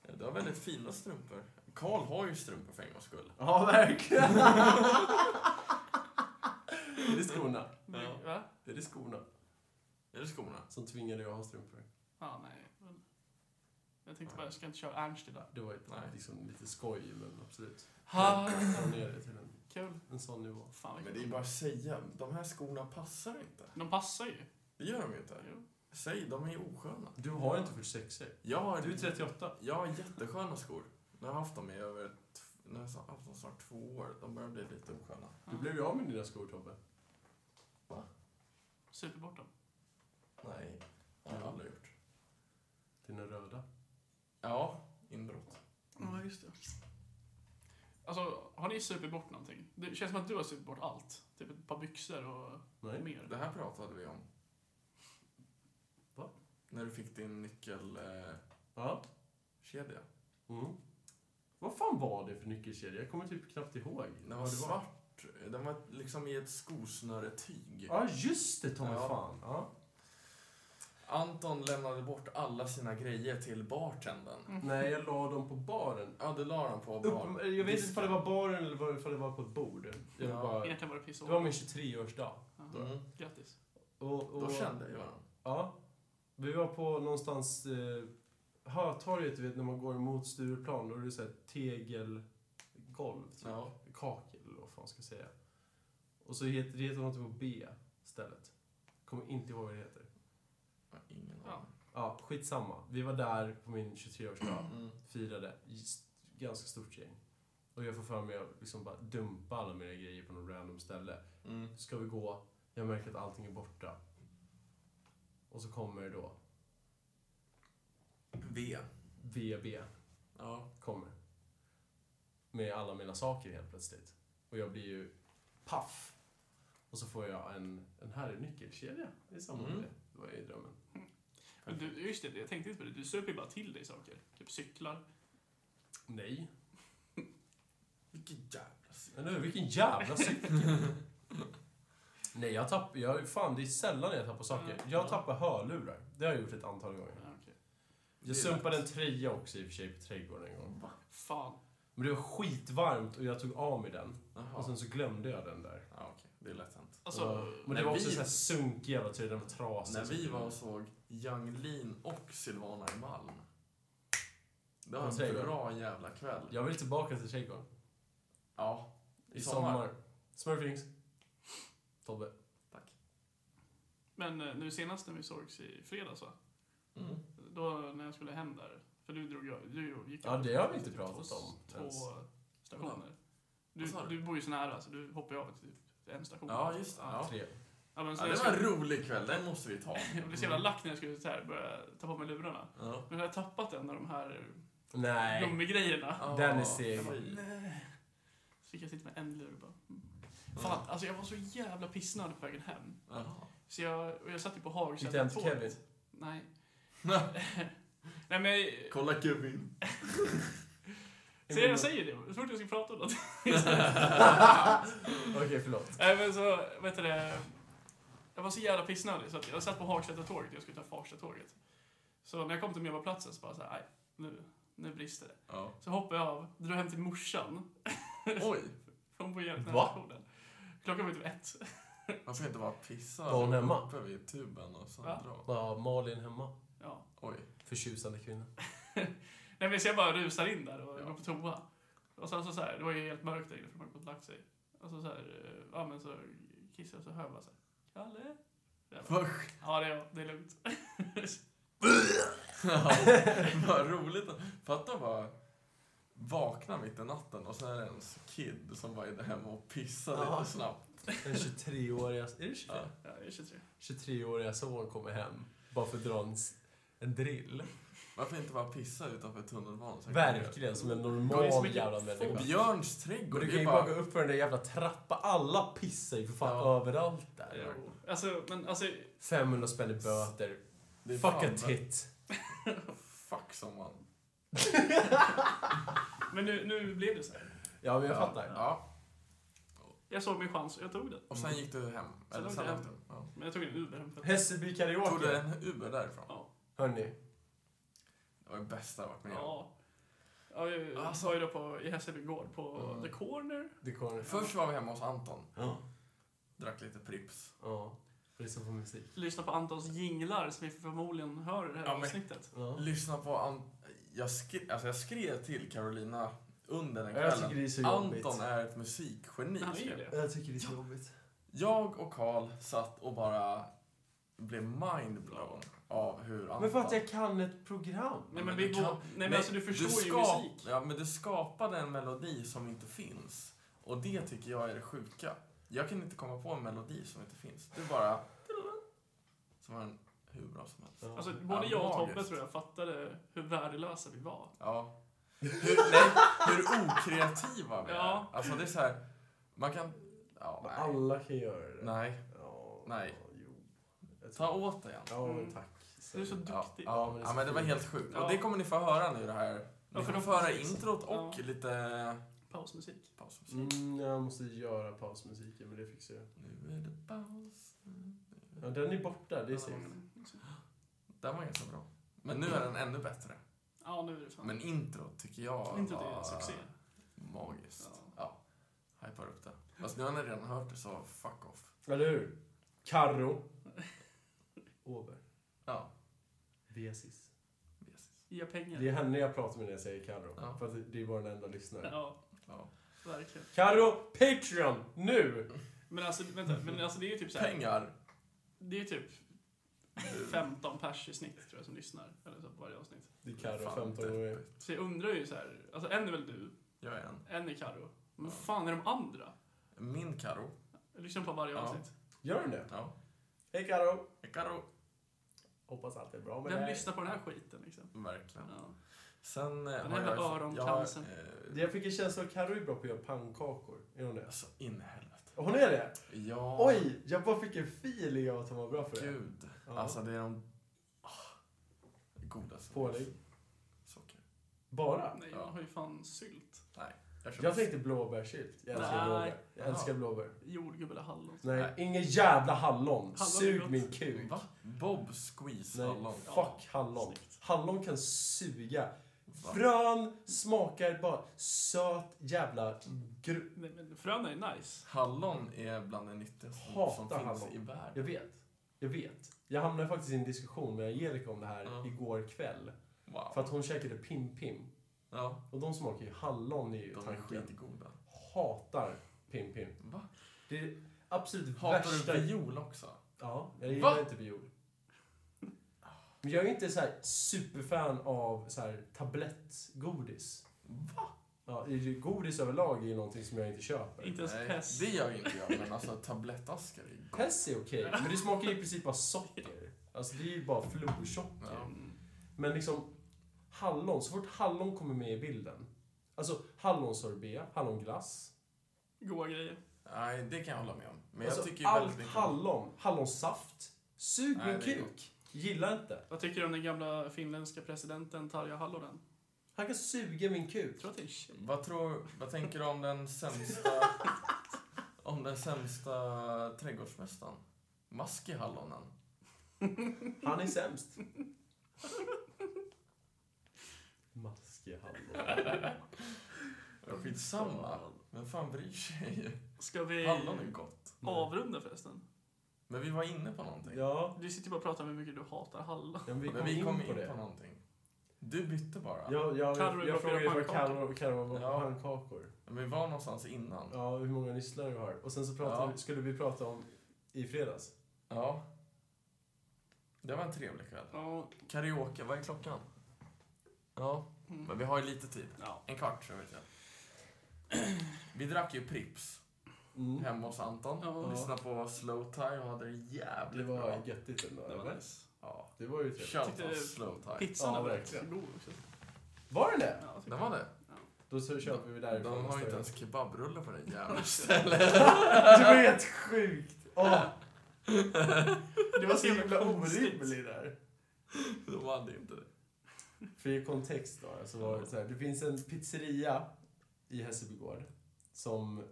Ja, Du har väldigt fina strumpor. Karl har ju strumpor för en gångs skull.
Ja, verkligen! är det skorna?
Ja.
Va?
Är det skorna
Är det skorna?
som tvingar dig att ha strumpor?
Ja, nej. Men jag tänkte bara, jag ska inte köra Ernst idag.
Det var ett,
Nej.
liksom, lite skoj, men absolut.
Ha,
Ta ner det till en,
kul.
en sån nivå.
Fan, vad
Men
kul.
det är bara att säga, de här skorna passar inte.
De passar ju.
Det gör de ju inte.
Jo.
Säg, de är osköna.
Du har ju inte 46 er.
Jag har,
Du är 38.
jag har jättesköna skor. Nu har jag haft dem i över ett, nu har jag haft dem snart två år. De börjar bli lite osköna.
Du blev ju av med dina skor, Tobbe.
Super bort dem.
Nej, det har jag aldrig gjort.
Dina röda.
Ja, inbrott.
Ja, just det. Alltså, har ni super bort någonting? Det känns som att du har super bort allt. Typ ett par byxor och
Nej.
mer.
Det här pratade vi om.
Va?
När du fick din nyckelkedja.
Ja. Mm. Vad fan var det för nyckelkedja? Jag kommer typ knappt ihåg.
Den var
vad det
svart bort. Den var liksom i ett skosnöretyg.
Ja, just det, ta mig
Ja.
fan. Ja.
Anton lämnade bort alla sina grejer till bartendern.
Nej, jag la dem på baren.
Ja, det la de på
Upp,
barn.
jag vet inte om det var baren eller vad- ifall det var på ett bord. Jag vill
Ja.
bara, det
Egentligen var det piss
var
och
min 23-årsdag.
Mm.
Grattis.
Och, och,
Då kände jag dem.
Ja. Vi var på någonstans eh, Hötorget, du vet, när man går emot Stureplan. Då är det så här tegelgolv, typ.
Ja.
kakel eller vad fan ska jag säga. Och så heter det heter någonting på B stället. Kommer inte ihåg vad det heter.
Ja, Ingen
Ja.
aning.
Ja, skitsamma. Vi var där på min 23-årsdag.
Mm.
Firade. Just- Ganska stort gäng. Och jag får för mig att liksom bara dumpa alla mina grejer på något random ställe.
Mm.
Ska vi gå? Jag märker att allting är borta. Och så kommer då
V.
VB.
Ja.
kommer. Med alla mina saker helt plötsligt. Och jag blir ju paff. Och så får jag en, en härlig nyckelkedja i samband med
Mm.
det. Det var ju drömmen.
Men du, just det, jag tänkte inte på det. Du söp ju bara till dig saker. Typ cyklar.
Nej.
Vilken jävla synd.
Eller hur? Vilken jävla cykel! Nej, jag tappar... Jag, fan, det är sällan jag tappar saker.
Mm.
Jag tappar hörlurar. Det har jag gjort ett antal gånger.
Ja, okej.
Det är
Jag sumpade en tröja också i och för sig på trädgården en gång.
Fan.
Men det var skitvarmt och jag tog av mig den.
Jaha.
Och sen så glömde jag den där.
Ja, okej. Det är lätt hänt.
Alltså,
Och-
när
men det var också
vi-
så här sunkig jävla tröja, den var trasig.
När
Så- typ.
vi var och såg Yung Lean och Silvana i Malm. Det
Vad
var
säger
en
du?
bra jävla kväll.
Jag vill tillbaka till trädgården.
Ja.
I sommar. Smurfings. Tobbe.
Tack.
men eh, nu senast när vi sågs i fredags va?
Mm.
Då när jag skulle hem där. För du drog jag, du gick
Ja, det har vi inte pratat
två-
om
Två
ens.
stationer. Du,
Vad sa du?
du bor ju så nära så du hoppar ju av typ en station.
Ja, just det. Ja.
Tre.
Ja, men så
Ja,
jag
det var
skulle-
en rolig kväll. Den måste vi ta.
Jag blev så
Mm.
jävla lack när jag skulle så här börja ta på mig lurarna.
Ja.
Men jag har tappat en av de här
Nej.
gummigrejerna.
Ja,
Den är seg.
fy.
Nej. Så fick jag sitta med en lur och bara... mm. Fan, alltså jag var så jävla pissnödig på vägen hem.
Jaha.
Så jag, och jag satt ju på
Gick det hem till
Hagsätra
Kevin?
Nej. Nej men... jag-
Kolla Kevin.
Så jag säger det, så fort jag ska prata om något.
Okej, förlåt.
Nej men så, vet du det. Jag var så jävla pissnödig så att jag satt på Hagsätra-tåget jag skulle ta Farsta-tåget. Så när jag kom till Medborgarplatsen så bara så här, nej, nu, nu brister det.
Ja.
Så hoppade jag av, drog hem till morsan.
Oj,
Hon bor jävligt nära
Va?
stationen. Klockan var typ ett.
man ska inte bara pissa
Var hon hemma?
uppe vid tuben och sen
Va?
dra.
Ja, Malin hemma.
Ja.
Oj.
Förtjusande kvinna.
Nej men så jag bara rusar in där och
Ja.
går på toa. Och sen så, så här, det var ju helt mörkt där inne för man hade gått och lagt sig. Och så så här, eh, ja men så kissade jag och så hör jag bara så här, Kalle? Jag bara,
Vad
ja det är jag, det är lugnt.
Vad roligt. Fatta bara vakna mitt i natten och sen är det ens kid som bara är hemma och pissar
Ja.
lite snabbt.
Den 23-åriga... Är det 23?
Ja.
Ja, jag är 23.
23-åriga son kommer hem. Bara för att dra en, s- en drill.
Varför inte bara pissa utanför tunnelbanan? så här kan
Verkligen som en
Det är så
normal
mycket
jävla
man göra.
människa.
Björns
Och
trädgård,
du
det
kan
är
ju bara gå
bara...
upp för den där jävla trappan. Alla pissar ju för fan
Ja.
överallt där.
Jo. Alltså, men alltså,
500 spänn i böter.
Det är
Fuck
fan-
a tit.
Fuck som man.
men nu, nu blev det så här.
Ja, men jag fattar.
Ja.
Jag såg min chans och jag tog den.
Och sen gick du hem.
Sen
Eller
åkte
sen
jag
åkte du. Ja.
Men jag tog en Uber hem för att...
Hässelby
Tog du
karaoke.
en Uber därifrån?
Ja.
Hörni,
Det var det bästa jag varit med om.
Ja. Ja, vi
Alltså.
var ju då på, i Hässelby gård på
Mm.
The Corner.
det kommer...
Först var vi hemma hos Anton.
Ja.
Drack lite Pripps.
Ja, lyssna på musik.
Lyssna på Antons jinglar som vi förmodligen hör i det här
Ja, men-
avsnittet.
Ja.
Lyssna på An- jag, skri- alltså jag skrev till Carolina under den
Jag tycker
kvällen.
det är så jobbigt.
Anton är ett musikgeni.
Han är ju
skrev jag.
det.
Jag tycker det är så jobbigt.
Jag och Karl satt och bara blev mindblown av hur Anton...
Men för att jag kan ett program.
men
Nej men, vi
det
går,
kan-
nej, men alltså du förstår ju
ska-
musik.
Ja, men du skapade en melodi som inte finns. Och det tycker jag är det sjuka. Jag kan inte komma på en melodi som inte finns. Du bara... Som var den hur bra som helst.
Ja.
Alltså både jag och Tobbe
magiskt.
tror jag fattade hur värdelösa vi var.
Ja. Hur, nej, hur okreativa vi är.
Ja.
Alltså det är så här, man kan... Ja,
Men
nej.
alla kan göra det.
nej.
Ja,
Nej.
ja, Jo. Jag
Ta
tror-
åt dig Anton.
Ja,
Mm.
men tack.
Du är så
Ja,
duktig.
ja, men det, ja, men det var helt sjukt.
Ja.
Och det kommer ni få höra nu det här. Ni
Ja, för
får
de-
få höra introt och
Ja.
lite
Pausmusik.
Pausmusik.
Mm, jag måste göra pausmusiken, men det fixar jag.
Nu är det paus.
Ja, den är borta, det är segt.
Den var ganska bra. Men nu är den ännu bättre.
Ja, nu är det fan.
Men intro tycker jag
inte det är
var
en succé.
magiskt.
Ja.
Ja. Hypar upp det. Fast nu har ni redan hört det, så fuck off.
Eller hur? Karro. Åberg.
Ja.
Vesis.
Yes.
Ge pengar.
Det är henne jag pratar med när jag säger Karro.
Ja.
För att det är vår enda lyssnare.
Ja,
Ja.
verkligen.
Karro, Patreon! Nu!
Men alltså, vänta. Men alltså det är ju typ så här,
Pengar.
Det är typ 15 pers i snitt tror jag som lyssnar. Eller så på varje avsnitt.
Det är Karro,
Fan,
15 gånger.
deppigt.
Så jag undrar ju så här. Alltså en är väl du,
Jag är en.
en är Karo. Men vad
Ja.
fan är de andra?
Min Karo.
Jag lyssnar på varje
Ja.
avsnitt.
Gör den det?
Ja.
Hej Karro!
Karo.
Hoppas allt är bra med
Vem
dig.
lyssnar på den här skiten liksom?
Verkligen.
Ja.
Sen eh,
Den
har
jävla
jag...
öroncancern.
jag,
Det
eh,
Jag fick en känsla av att Karro är bra på att göra pannkakor. Är hon det?
Alltså, in i helvete.
Hon är det?
Ja.
Oj! Jag bara fick en feeling av att hon var bra för det.
Gud.
Ja.
Alltså, det är de ah, godaste.
Pålägg.
Socker.
Bara?
Nej,
Ja.
jag har ju fan sylt.
Jag köper
Jag tänkte blåbärssylt. Jag älskar
Nej.
blåbär. Jag
Jaha.
älskar blåbär.
Jordgubb eller hallon.
Nej,
Nej.
ingen jävla hallon.
Hallon är
Sug
gott.
min kuk.
Va? Bob Squeeze
Nej,
hallon.
fuck hallon.
Snyggt.
Hallon kan suga.
Va?
Frön smakar bara söt jävla gru...
Nej, men frön är nice.
Hallon är bland det nyttigaste
Hatar
som finns
hallon.
i världen.
Jag vet. Jag vet. Jag hamnade faktiskt i en diskussion med Angelica om det här
Ja.
igår kväll.
Wow.
För att hon käkade pim-pim.
Ja,
Och de smakar ju hallon i
de är
tanken.
skitgoda.
Hatar pim-pim.
Va?
Det är absolut
Hatar
värsta...
du viol också?
Ja, jag gillar
Va?
inte viol. Men jag är inte så här superfan av så här tablettgodis.
Va?
Ja, godis överlag är ju någonting som jag inte köper.
Inte ens
Nej,
pest.
det gör inte jag, men alltså tablettaskar är gott.
Pess är okej, men det smakar ju i princip bara socker. Alltså det är ju bara florsocker.
Ja.
Mm.
Men liksom, hallon, så fort hallon kommer med i bilden. Alltså hallonsorbet, hallonglass.
Goa grejer.
Nej, det kan jag hålla med om. Men
Alltså,
jag tycker ju väldigt
allt
mycket om-
hallon. Hallonsaft. Sug
Nej,
min
det är
kuk. Gillar inte.
Vad tycker du om den gamla finländska presidenten Tarja Halonen?
Han kan suga min
Jag
kuk.
tror att det är en tjej.
Vad, tror, vad tänker du om den sämsta... om den sämsta trädgårdsmästaren? Maski hallonen.
Han är sämst. Maskig hallon.
Skitsamma. Men fan bryr sig?
Ska vi
Hallon är gott.
avrunda förresten?
Men vi var inne på någonting.
Ja,
Du sitter ju bara och pratar om hur mycket du hatar hallon.
men vi kom,
Men vi kom
in på det.
någonting. Du bytte bara.
Jag, jag,
Karro är
jag,
bra på att
frågade
göra
vad
pannkakor.
Karro Karro var på
Ja.
pannkakor.
Men vi var någonstans innan.
Ja, hur många lyssnare du har. Och sen så pratade
Ja.
vi, skulle vi prata om i fredags.
Ja. Det var en trevlig kväll.
Ja.
Karaoke, vad är klockan? Ja, men
Mm.
vi har ju lite tid.
ja.
En kvart, så vet jag. Vi drack ju Pripps
Mm.
hemma hos Anton.
Ja.
Och lyssnade på Slow Tie och hade det
Det
jävligt
var
bra.
göttigt ändå.
Det var
eller?
nice.
Ja.
Det var ju trevligt.
Shout
Tyckte-
out Slow Tie.
Pizzan
Ja,
är väldigt
verkligen.
god också.
Var det
Ja,
det?
jag tycker
Den var det.
Då så köper vi därifrån.
De har
nästa
ju inte
gång.
ens kebabrulle på det jävla stället.
Det var helt sjukt! Åh,
Det
det
var
var
så
så
jävla
himla
konstigt.
orimlig där.
De hade inte det.
För i kontext då, så var det så här. Det finns en pizzeria i Hässelbygård som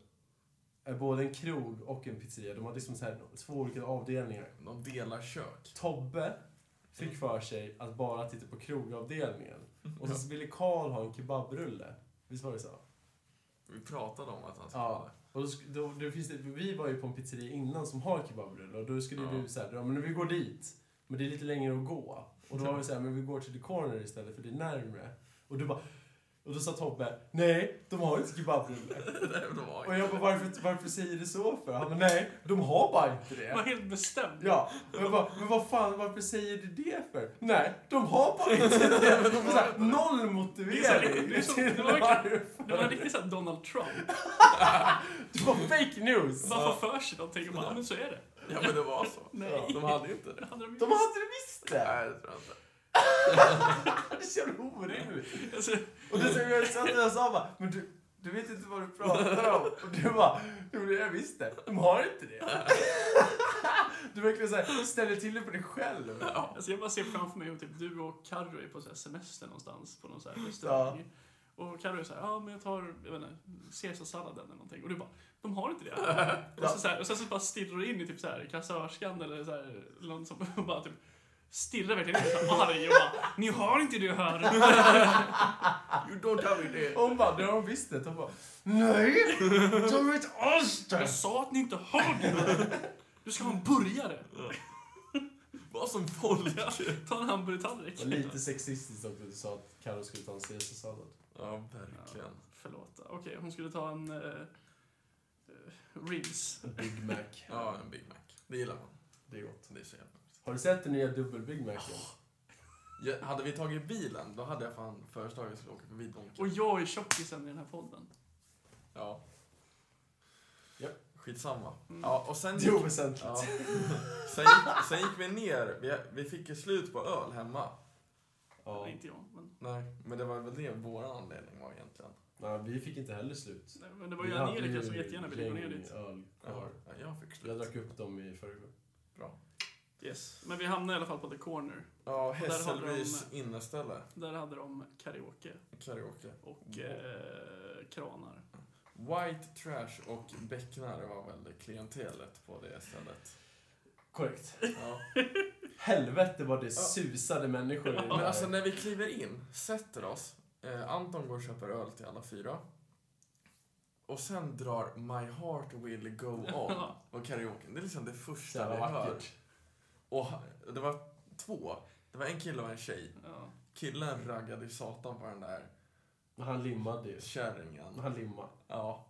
är både en krog och en pizzeria. De har liksom så här, två olika avdelningar.
De delar kök.
Tobbe fick för sig att bara titta på krogavdelningen. Och sen så ville Karl ha en kebabrulle. Visst var det så?
Vi pratade om att han
Typ.
skulle ha
Ja.
det.
Och då, sk- då, då finns det, vi var ju på en pizzeria innan som har kebabrulle och då skulle
Ja.
du säga ja men vi går dit. Men det är lite längre att gå. Och då var vi såhär, men vi går till the corner istället för det är närmre. Och du bara, och då sa Tobbe, nej de har inte kebabrulle.
Nej, det var
och jag bara, varför, varför säger du så för? Han bara, nej de har bara inte
Jag var
det.
helt bestämd.
Ja, och jag bara, men vad fan varför säger du det för? Nej, de har bara inte det. Och så här, noll motivering.
Det är så- det är så- det var verkligen- Det var en riktig sån här Donald Trump.
Det var fake news.
Bara får för sig någonting och bara, "Ja, men så är det.
Ja, men det var så.
Nej.
De hade ju inte det.
Det handlar om
De hade det visst det.
Nej, det tror jag inte.
Det är så jävla orimligt.
Alltså,
Och det som jag sa till jag sa bara, men du, du vet inte vad du pratar om. Och du bara, jo det jag visst det. De har inte det. Du verkligen så här, ställer till det på dig själv.
alltså jag bara ser framför mig hur typ du och Carro är på så här semester någonstans på någon så här restaurang. Och Carro är såhär, ja men jag tar, jag vet inte, caesarsalladen eller någonting. Och du bara, de har inte det här. och, så, så här, och sen så bara stirrar du in i typ så här, kassörskan eller så här, någon som och bara typ stirrar verkligen in och är så här arg och bara, ni har inte det här.
You don't have it here.
Hon bara, det har de visst det. Hon bara, nej! De är ett
Jag
alster!
sa att ni inte har det här. Du ska ha en burgare.
Vad som folk.
Ta en hamburgertallrik.
Och lite sexistiskt också, du sa att Carro skulle ta en caesarsallad.
Ja, verkligen.
Förlåt. Okej, hon skulle ta en eh, eh, ribs.
Big Mac.
Ja, en Big Mac. Det gillar man.
Det är gott.
Det är så jävla gott.
Har du sett den nya dubbel-Big Macen?
Ja, hade vi tagit bilen, då hade jag fan föreslagit att jag skulle åka förbi Donken.
Och jag är tjockisen i den här podden.
Ja.
Ja.
Skitsamma.
Mm.
Ja, och sen...
Det är oväsentligt.
Ja. Sen, gick, sen gick vi ner. Vi, vi fick ju slut på öl hemma.
Ja.
Eller inte jag, men,
Nej, men det var väl det vår anledning var egentligen.
Nej, vi fick inte heller slut.
nej, men det var ju
Vi hade
Angelica
ju
som jättegärna ville gå ner
gäng
dit.
öl
Ja,
kvar.
jag fick
Jag
slut.
drack upp dem i förrgår.
Yes. Men vi hamnade i alla fall på The Corner.
Ja,
där hade de-
Hässelbys inneställe.
Där hade de karaoke
Karaoke.
och eh, kranar.
White trash och becknare var väl klientelet på det stället.
Korrekt.
Ja.
Helvete vad det susade människor i den
Men
här.
alltså när vi kliver in, sätter oss. Eh, Anton går och köper öl till alla fyra. Och sen drar My Heart Will Go On och karaoken. Det är liksom det
Så
första vi
jävla
hör.
vackert.
Och ha- det var två. Det var en kille och en tjej.
Ja.
Killen raggade ju satan på den där
Han limmade ju.
kärringen.
Han limmade.
Ja.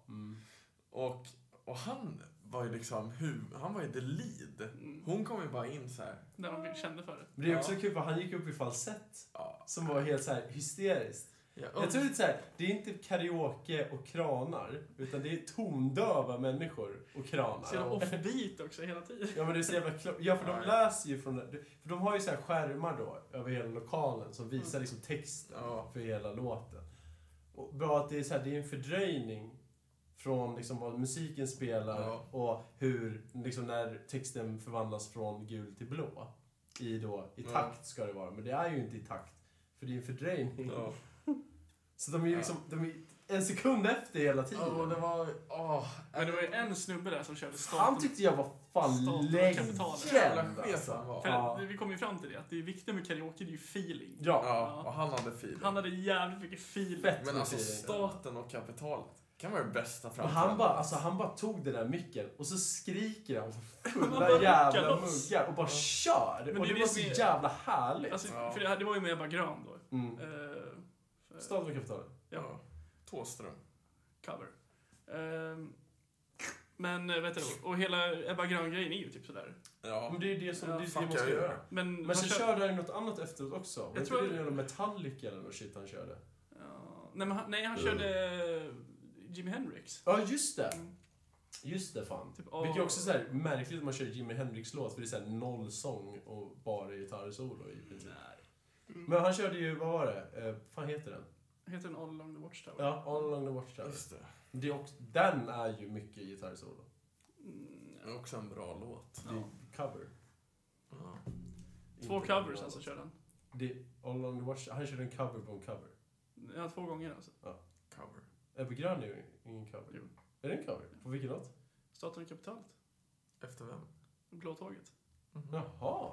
Och, och han var ju liksom hu- han var ju the lead.
Mm.
Hon kom ju bara in så här.
Där de kände för det.
Men det är
Ja.
också kul för han gick upp i falsett.
Ja.
Som var helt så här hysteriskt.
Jag,
Jag tror det är så här, det är inte karaoke och kranar. Utan det är tondöva människor och kranar.
Så jävla offbeat också hela tiden.
Ja men det är så jävla klo- Ja för
Ja,
de
ja.
läser ju från... För de har ju så här skärmar då över hela lokalen som
Mm.
visar liksom texten
Ja.
för hela låten. Och bra att det är så här, det är en fördröjning från liksom vad musiken spelar
Ja.
och hur, liksom när texten förvandlas från gul till blå. I då, i
Ja.
takt ska det vara. Men det är ju inte i takt. För det är en fördröjning.
ja.
Så de är ju
Ja.
liksom, de är en sekund efter hela tiden.
Ja, och det var... åh.
Men det var ju en snubbe där som körde
Han
staten.
tyckte jag var fan
Staten och
legend. alltså.
kapitalet.
Jävla chef han var.
För
Ja.
Vi kom ju fram till det, att det viktiga med karaoke det är ju feeling.
Ja.
Ja, och han hade feeling.
Han hade jävligt mycket feeling.
Fett
Men
med
alltså
feeling.
staten och kapitalet kan vara det bästa
Men
framträdandet.
han bara, alltså, han bara tog den där micken och så skriker han för
Han
fulla
bara
jävla
rycker loss.
muggar och bara
Ja.
kör!
Men
och
det
det,
är
var
det
så
som är-
jävla härligt.
Alltså,
Ja.
för det, det var ju med Ebba Grön då.
mm.
Eh, för-
Staden och kapitalet.
Ja. Thåström.
cover. Ehm, men eh, vet du, och hela Ebba Grön-grejen är ju typ sådär.
Ja.
Men det är ju det som
Ja,
det, är det
fuck
man ska
jag gör.
göra.
Men, han
Men sen
kör-
körde han något annat efteråt också. Var
Jag
inte
tror
det
att-
någon Metallica eller något shit han körde?
Ja, nej, men han, nej, han körde eh, Jimi Hendrix.
Ja, just det!
Mm.
Just det, fan.
Typ,
Vilket
ja.
är också så här märkligt att man kör Jimi Hendrix-låt för det är såhär noll sång och bara gitarrsolo i princip.
Nej.
Men han körde ju, vad var det? Eh, fan heter den?
Mm. Heter den All Along the Watchtower?
Ja, All Along the Watchtower.
Just det.
Det är också, den är ju mycket gitarrsolo.
Mm,
Det är också en bra låt.
Det är cover.
Ja.
Två
Inte
covers
original.
alltså körde han.
Det är All on the Watch. Han körde en cover på en cover.
Ja, två gånger alltså.
Cover.
Ebbe Grön är ju ingen cover.
Jo.
Är det en cover? På vilken låt?
Mm.
Staten och kapitalet.
Efter vem?
Blå tåget.
Mhm.
Jaha!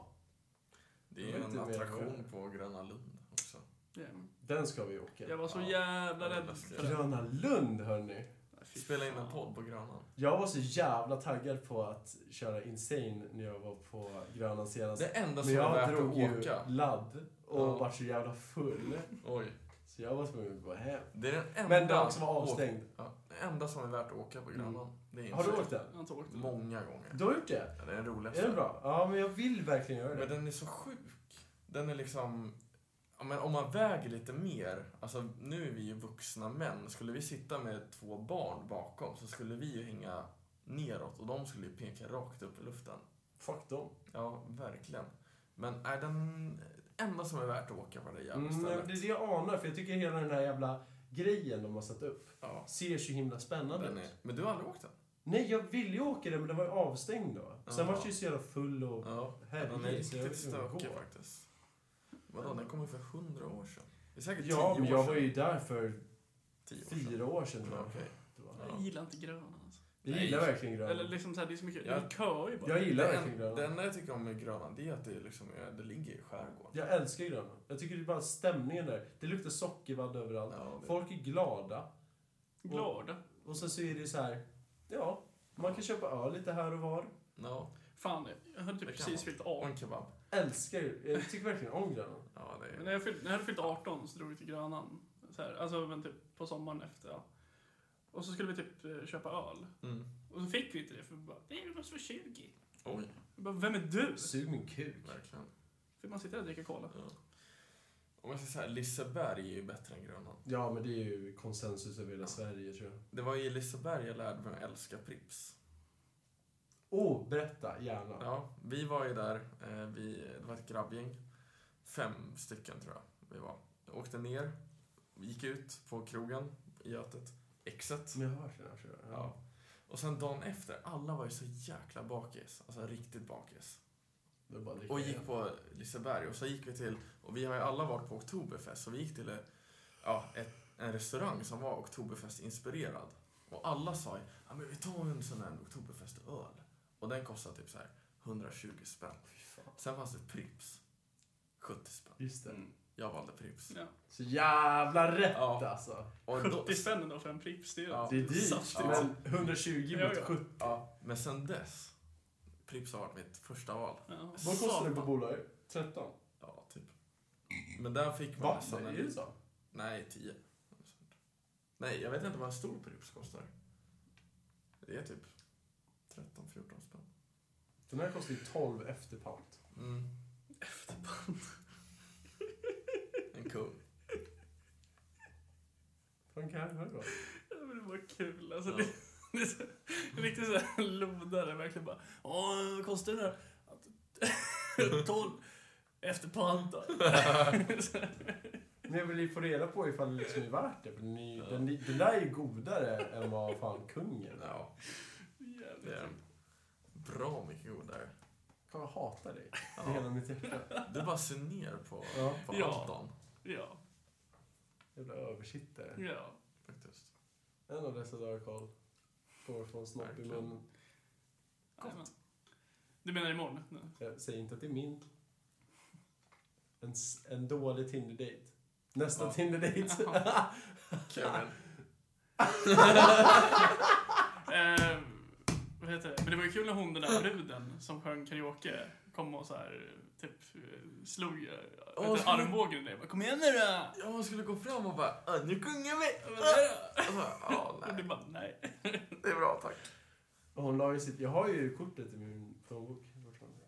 Det är ju
Det var
en
inte mer
attraktion
än-
på Gröna Lund också.
Ja, mm.
Den ska vi åka.
Jag var så
Ja.
jävla
Ja, det
rädd
måste
för
jag.
den.
Gröna Lund hörni.
Nej, fy
Spela in en
fan.
podd på Grönan.
Jag var så jävla taggad på att köra Insane när jag var på Grönan senast.
Det enda
Alltså, Men
som var
jag
värt
drog
att
ju
åka.
ladd och
Ja.
var så jävla full.
Oj.
Så jag var tvungen att gå hem.
Det är den enda...
Men den också var
å-
avstängd. Mm.
Ja, det enda som är värt att åka på Grönan. Det är
Har du
Insane.
åkt den?
Jag har inte åkt den.
Många gånger.
Du har gjort det?
Ja, det är den
Är
roligaste.
den bra? Ja, men jag vill verkligen göra
Men
det.
den är så sjuk. Den är liksom... Ja, men om man väger lite mer, alltså nu är vi ju vuxna män. Skulle vi sitta med två barn bakom så skulle vi ju hänga neråt och de skulle ju peka rakt upp i luften.
Fuck dem.
Ja, verkligen. Men är den enda som är värt att åka på det jävla
Mm, nej,
stället?
men det är det jag anar, för jag tycker hela den här jävla grejen de har satt upp
Ja,
ser så himla spännande
den
ut.
är... Men du har aldrig åkt den?
Nej, jag ville ju åka den, men den var ju avstängd då. Sen
Jaha.
var jag ju så jävla full och...
Ja,
Herregud,
den är
så jag
riktigt
vet inte hur det
stökig
går.
faktiskt. Vadå, den kom ju för hundra år sedan. Det är säkert
Ja,
tio
men
år
jag
sedan.
var ju där för
Tio år sedan.
Fyra år sedan
Ja,
då.
okej.
Det var.
Jag gillar inte gröna alltså.
Vi
Nej.
gillar verkligen gröna.
Eller liksom såhär, det är så mycket,
Ja.
det köar ju bara.
Jag gillar
Det
verkligen
en- Det
gröna.
enda jag tycker om med Gröna, det är att det, liksom är, det ligger i skärgården.
Jag älskar gröna. Jag tycker det är bara stämningen där. Det luktar sockervadd överallt.
Ja, det-
Folk är glada.
Glada.
Och sen så är det så här, ja, man kan köpa öl lite här och var.
Ja,
Fan, jag hade typ
Det kan
precis
man.
fyllt
och
18.
en kebab.
Älskar ju, jag tycker verkligen om gröna.
Ja, det
Men
är...
när jag, fyllt, när jag hade fyllt 18 så drog vi till Grönan. Så här, alltså men typ på sommaren efter. Ja. Och så skulle vi typ eh, köpa öl.
Mm.
Och så fick vi inte det för vi bara, nej vi måste få 20.
Oj,
Jag bara, vem är du?
Sug min kuk.
verkligen.
Fick man sitta där och dricka cola?
Ja. Om jag säger så här, Liseberg är ju bättre än Grönan.
Ja, men det är ju konsensus över hela
Ja.
Sverige tror jag.
Det var i Liseberg jag lärde mig att älska Pripps.
Åh, oh, berätta gärna.
Ja, vi var ju där, eh, vi, det var ett grabbgäng. Fem stycken tror jag vi var. Jag åkte ner, gick ut på krogen i Götet, Exet.
Men jag har hört den här tror jag.
Ja. Och sen dagen efter, alla var ju så jäkla bakis. Alltså riktigt bakis.
Det är bara att dricka
Och
igen.
gick på Liseberg och så gick vi till, och vi har ju alla varit på Oktoberfest, så vi gick till eh, ja, ett, en restaurang som var Oktoberfest-inspirerad. Och alla sa ju, ja men vi tar en sån här Oktoberfest-öl. Och den kostade typ så här 120 spänn. Sen fanns det Pripps. 70 spänn.
Just det.
Jag valde Pripps.
Ja.
Så jävla rätt
Ja.
alltså.
Och då,
70 spänn ändå för en Pripps, det är ju
Ja.
Det är dyrt.
saftigt.
Ja.
Men 120
Ja,
mot
ja.
70.
ja, men sen dess, Pripps har varit mitt första val.
Ja.
Vad kostar det på
Satan.
bolaget? 13?
Ja, typ. Men där fick man
Va?
nästan
Nej,
en-
är det så?
Nej, 10. Nej, jag vet inte vad en stor Pripps kostar. Det är typ 13-14 spänn.
Den här kostar ju 12 efter pant.
Mm. Efterband. en kung.
Fan, kan jag höra då?
Ja, men det var kul alltså.
Ja.
Det, det är så, riktigt såhär lodare verkligen bara, åh vad kostar det där? 12 efter pant då.
Men jag vill ju få reda på ifall det liksom är värt det. För den, är, den, den där är ju godare än vad fan kungen är.
Ja,
Jävligt
det är
kul.
en bra mycket godare.
Fan, jag hatar dig. Det är
Ja.
hela mitt hjärta.
Du bara ser ner på,
Ja.
på
Ja.
allt Dan,
Ja,
Jävla översittare.
ja.
faktiskt.
En av dessa dagar, Karl, går från snopp i
Verkligen.
munnen.
Jajamän. Du menar imorgon? Nej.
Jag säger Eh, inte att det är min. En, s- en dålig Tinder-date. Nästa
Ja.
Tinder-date.
Kevin.
Eh, vad heter det? Men det var ju kul när hon den där bruden som sjöng karaoke kom och så här typ eh, slog
Åh,
oh,
skulle-
armbågen i dig. Bara, Kom igen nu då!
Ja, man skulle gå fram och bara "Ah, nu kungar vi!
Vad är det?
Och så, Ja,
Och du
Ah! nej.
bara nej.
Det är bra, tack.
Och hon la ju sitt... Jag har ju kortet i min plånbok. fortfarande.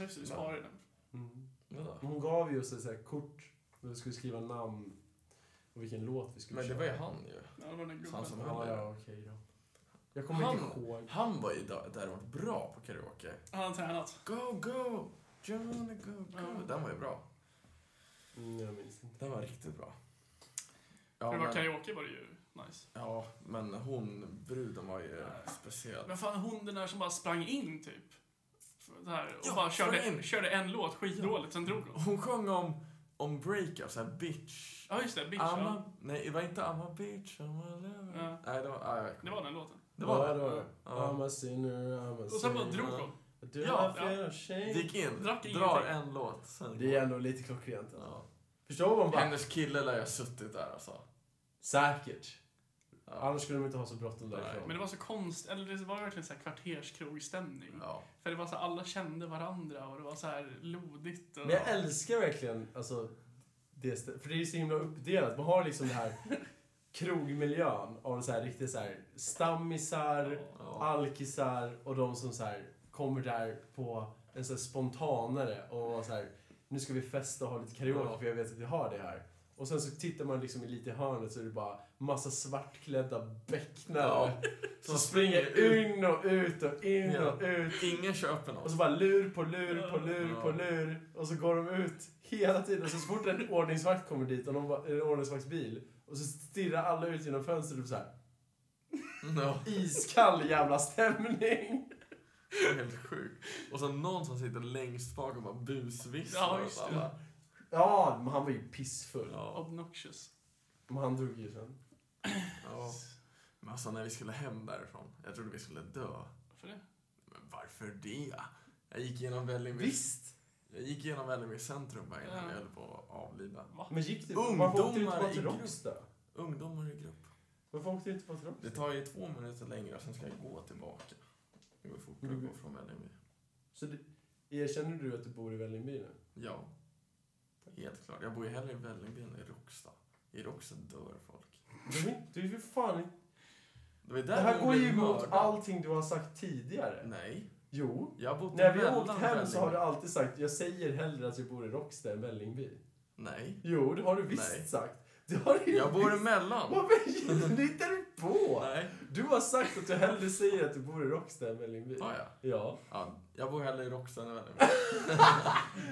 Just det, du sparar ju den.
Mm.
Vadå?
Hon gav ju oss ett så här kort där vi skulle skriva namn och vilken låt vi skulle
Men det
köra.
var ju han ju.
Ja, det var den
Han
gubben.
som-
Ja, ja, okej då. Jag kommer
Han-
inte ihåg.
Han var ju da- däremot bra på karaoke.
Han har tränat.
Go, go! Johnny, go, go! Den var ju bra.
Mm, jag minns inte.
Den var riktigt bra.
För
Ja,
det var
men,
karaoke var det ju nice.
ja, men hon, bruden var ju
Nej.
speciell.
Men fan hon den där som bara sprang in typ. Så här, och
Ja,
bara körde,
sprang in.
körde en låt skitdåligt, sen drog hon.
Hon sjöng om, om breakup, såhär bitch.
Ja just det, bitch.
I'm
Ja.
a, nej, det var inte I'm a bitch, I'm a lover.
Ja.
Nej, det var... Ah, jag,
Det var den låten.
det var
ja,
det.
det. Var det.
Ja.
I'm a sinner, I'm a sinner.
Och sen bara drog hon.
Du
Ja,
har
ja.
fel och shame.
Gick in,
Drack
drar
ingenting.
en låt, sen
Det är ändå lite klockrent. Alltså.
ja.
Förstår man bara?
Hennes kille lär ju ha suttit där alltså.
Säkert.
Ja.
Annars skulle de inte ha så bråttom
Nej,
därifrån.
Men det var så konstigt, eller det var verkligen så här kvarterskrogstämning.
Ja.
För det var så här, alla kände varandra och det var så här lodigt. Och...
Men jag älskar verkligen, alltså, det, stä- för det är ju så himla uppdelat. Man har liksom det här krogmiljön av så här riktigt så här stammisar,
Ja.
alkisar och de som så här kommer där på en så här spontanare och var så här, nu ska vi festa och ha lite karaoke
Ja.
för jag vet att vi har det här. Och sen så tittar man liksom i lite hörnet så är det bara massa svartklädda becknare.
Ja.
Som springer in och ut och in
Ja.
och ut.
Ingen köper
Och
något.
så bara lur på lur på lur
Ja.
på lur. Och så går de ut hela tiden. Så fort en ordningsvakt kommer dit, och de bara, en ordningsvaktsbil. Och så stirrar alla ut genom fönstret och så här
Ja.
iskall jävla stämning.
Det är helt sjukt. Och så någon som sitter längst bak och bara busvisslar.
Ja, just
och
det.
alla.
Ja, men han var ju pissfull.
Ja.
Obnoxious.
Men han drog ju sen.
Ja. Men alltså när vi skulle hem därifrån, jag trodde vi skulle dö.
Varför det?
Men varför det? Jag gick igenom Vällingby...
Visst!
Jag gick igenom Vällingby centrum bara innan
Ja.
jag höll på att avlida.
Va?
Men gick du?
Ungdomar
Varför åkte du inte bara
i
till
grupp.
Råcksta?
Ungdomar i grupp.
Varför åkte du inte bara till Råcksta?
Det tar ju två minuter längre och sen ska jag gå tillbaka. Det går fortare att gå
Mm.
från Vällingby.
Så det, erkänner du att du bor i Vällingby nu?
Ja. Helt klart. Jag bor ju hellre i Vällingby än i Råcksta. I Råcksta dör folk.
Du är- Du är för fan inte...
Det, var ju
Det
där
här
hon
går ju
blev
emot
mördad.
allting du har sagt tidigare.
Nej.
Jo.
Jag har bott
När vi har
emellan
åkt hem så har du
Vällingby.
alltid sagt jag säger hellre att jag bor i Råcksta än Vällingby.
Nej.
Jo, det har du visst
Nej.
sagt. Det har du ju
Jag bor
visst.
emellan.
Varför hittar du på?
Nej.
Du har sagt att du hellre säger att du bor i Råcksta än Vällingby.
Ah, ja.
Ja.
ja. Jag bor hellre i Råcksta än i Vällingby.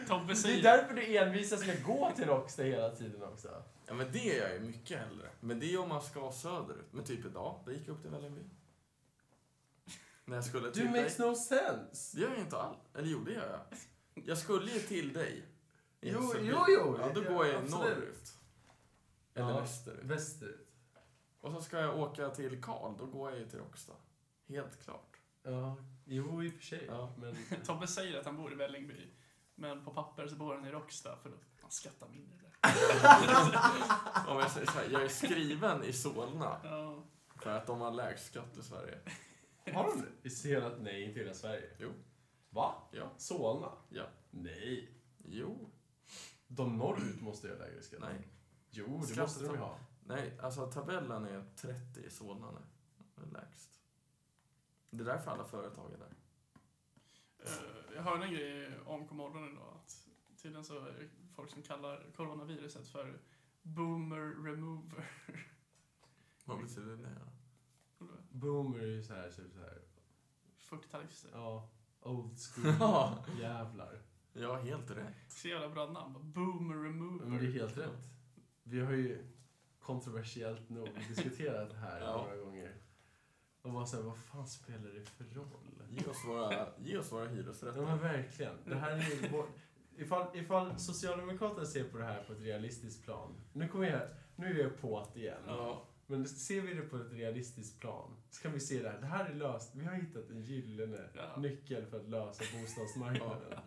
Tobbe
Det är
säger...
därför du envisas med att gå till Råcksta hela tiden också.
Ja men det gör jag ju mycket hellre. Men det är om man ska söderut. Men typ idag, då gick jag upp till Vällingby. När jag skulle
Du
till dig.
makes no sense.
Det gör jag inte alls. Eller jo, det gör jag. Jag skulle ju till dig. I
Jo,
Hässelby.
jo, jo,
Ja, då
det-
går jag
absolut.
norrut. Eller
Ja.
västerut.
Västerut.
Och så ska jag åka till Karl, då går jag ju till Råcksta. Helt klart.
Ja, jo i och för sig.
Ja.
Men...
Tobbe säger att han bor i Vällingby, men på papper så bor han i Råcksta för då han skattar mindre där.
Om jag säger så här, jag är skriven i Solna
Ja.
för att de har lägst skatt i Sverige.
Har de det? I hela, nej, inte hela Sverige.
Jo.
Va?
Ja.
Solna?
Ja.
Nej.
Jo.
De norrut måste ju ha lägre skatt.
Nej.
Jo, det
Skatt-
måste de ju ha.
Nej, alltså tabellen är 30 i Solna nu. Det är Lägst. Det är därför alla företag är där.
Eh, Jag hörde en grej om morgonen idag. Att tydligen så är det folk som kallar coronaviruset för boomer remover.
Vad betyder det? då?
Boomer är ju så här, typ så här.
Fucktalister.
Ja, old school.
Ja.
Jävlar.
Ja, helt rätt.
Så jävla bra namn. Boomer remover.
Men det är helt rätt. Vi har ju kontroversiellt nog diskuterat det här
Ja.
några gånger. Och bara såhär, vad fan spelar det för roll?
Ge oss våra, ge oss våra
Ja men
hyresrätter.
verkligen. Det här är
Mm.
ju vår... ifall, ifall Socialdemokraterna ser på det här på ett realistiskt plan. Nu kommer jag, nu är jag på det igen.
Ja.
Men ser vi det på ett realistiskt plan så kan vi se det här. Det här är löst. Vi har hittat en gyllene
Ja.
nyckel för att lösa bostadsmarknaden.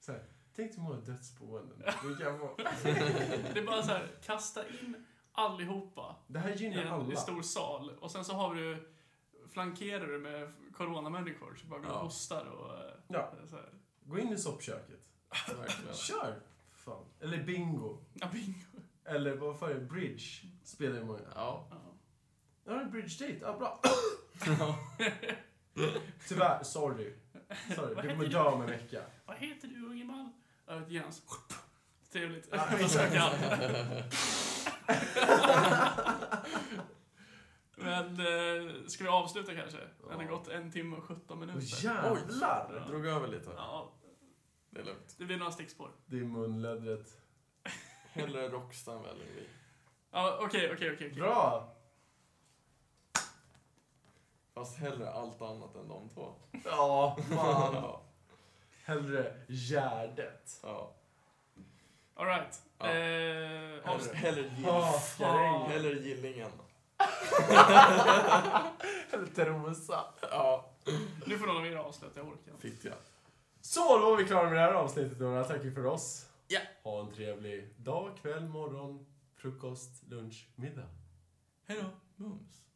Så här, tänk hur många dödsboenden vi kan få.
Det är bara så här, kasta in allihopa
Det här
i
gynnar
en
alla.
stor sal och sen så har du flankerar du med coronamänniskor som bara går och
Ja.
hostar och eh,
Ja.
så här.
Gå in i soppköket.
Verkligen.
Kör! Fan. Eller bingo.
Ja, bingo.
Eller vad fan är det? Bridge spelar ju många.
Ja.
Ja.
Ja, en bridge date. Ja, bra. Tyvärr, sorry. Sorry,
Vad heter
du kommer
du?
dö om en vecka.
Vad heter du unge man? Jag heter Jens. Trevligt.
Ja,
Då söker han. Men eh, ska vi avsluta kanske? Den har
Ja.
gått en timme och 17 minuter.
Åh jävlar!
Jag drog över lite.
Ja,
Det är lugnt.
det blir några stickspår.
Det är munlädret.
Hellre Rocksta än Vällingby.
Ja, Okej, okej, okej. okej.
Bra!
Fast hellre allt annat än de två.
Ja, fan.
Ja.
Hellre Gärdet.
ja.
Alright.
Ja.
Eh, avs-
Hellre, hellre,
Ja,
gill,
fan.
hellre Gillingen.
Eller Trosa.
Ja.
nu får någon av er avsluta, jag orkar inte.
Fittja.
Så, då var vi klara med det här avsnittet. Några tackar för oss.
Ja.
Ha en trevlig dag, kväll, morgon, frukost, lunch, middag.
Hej då. Mums.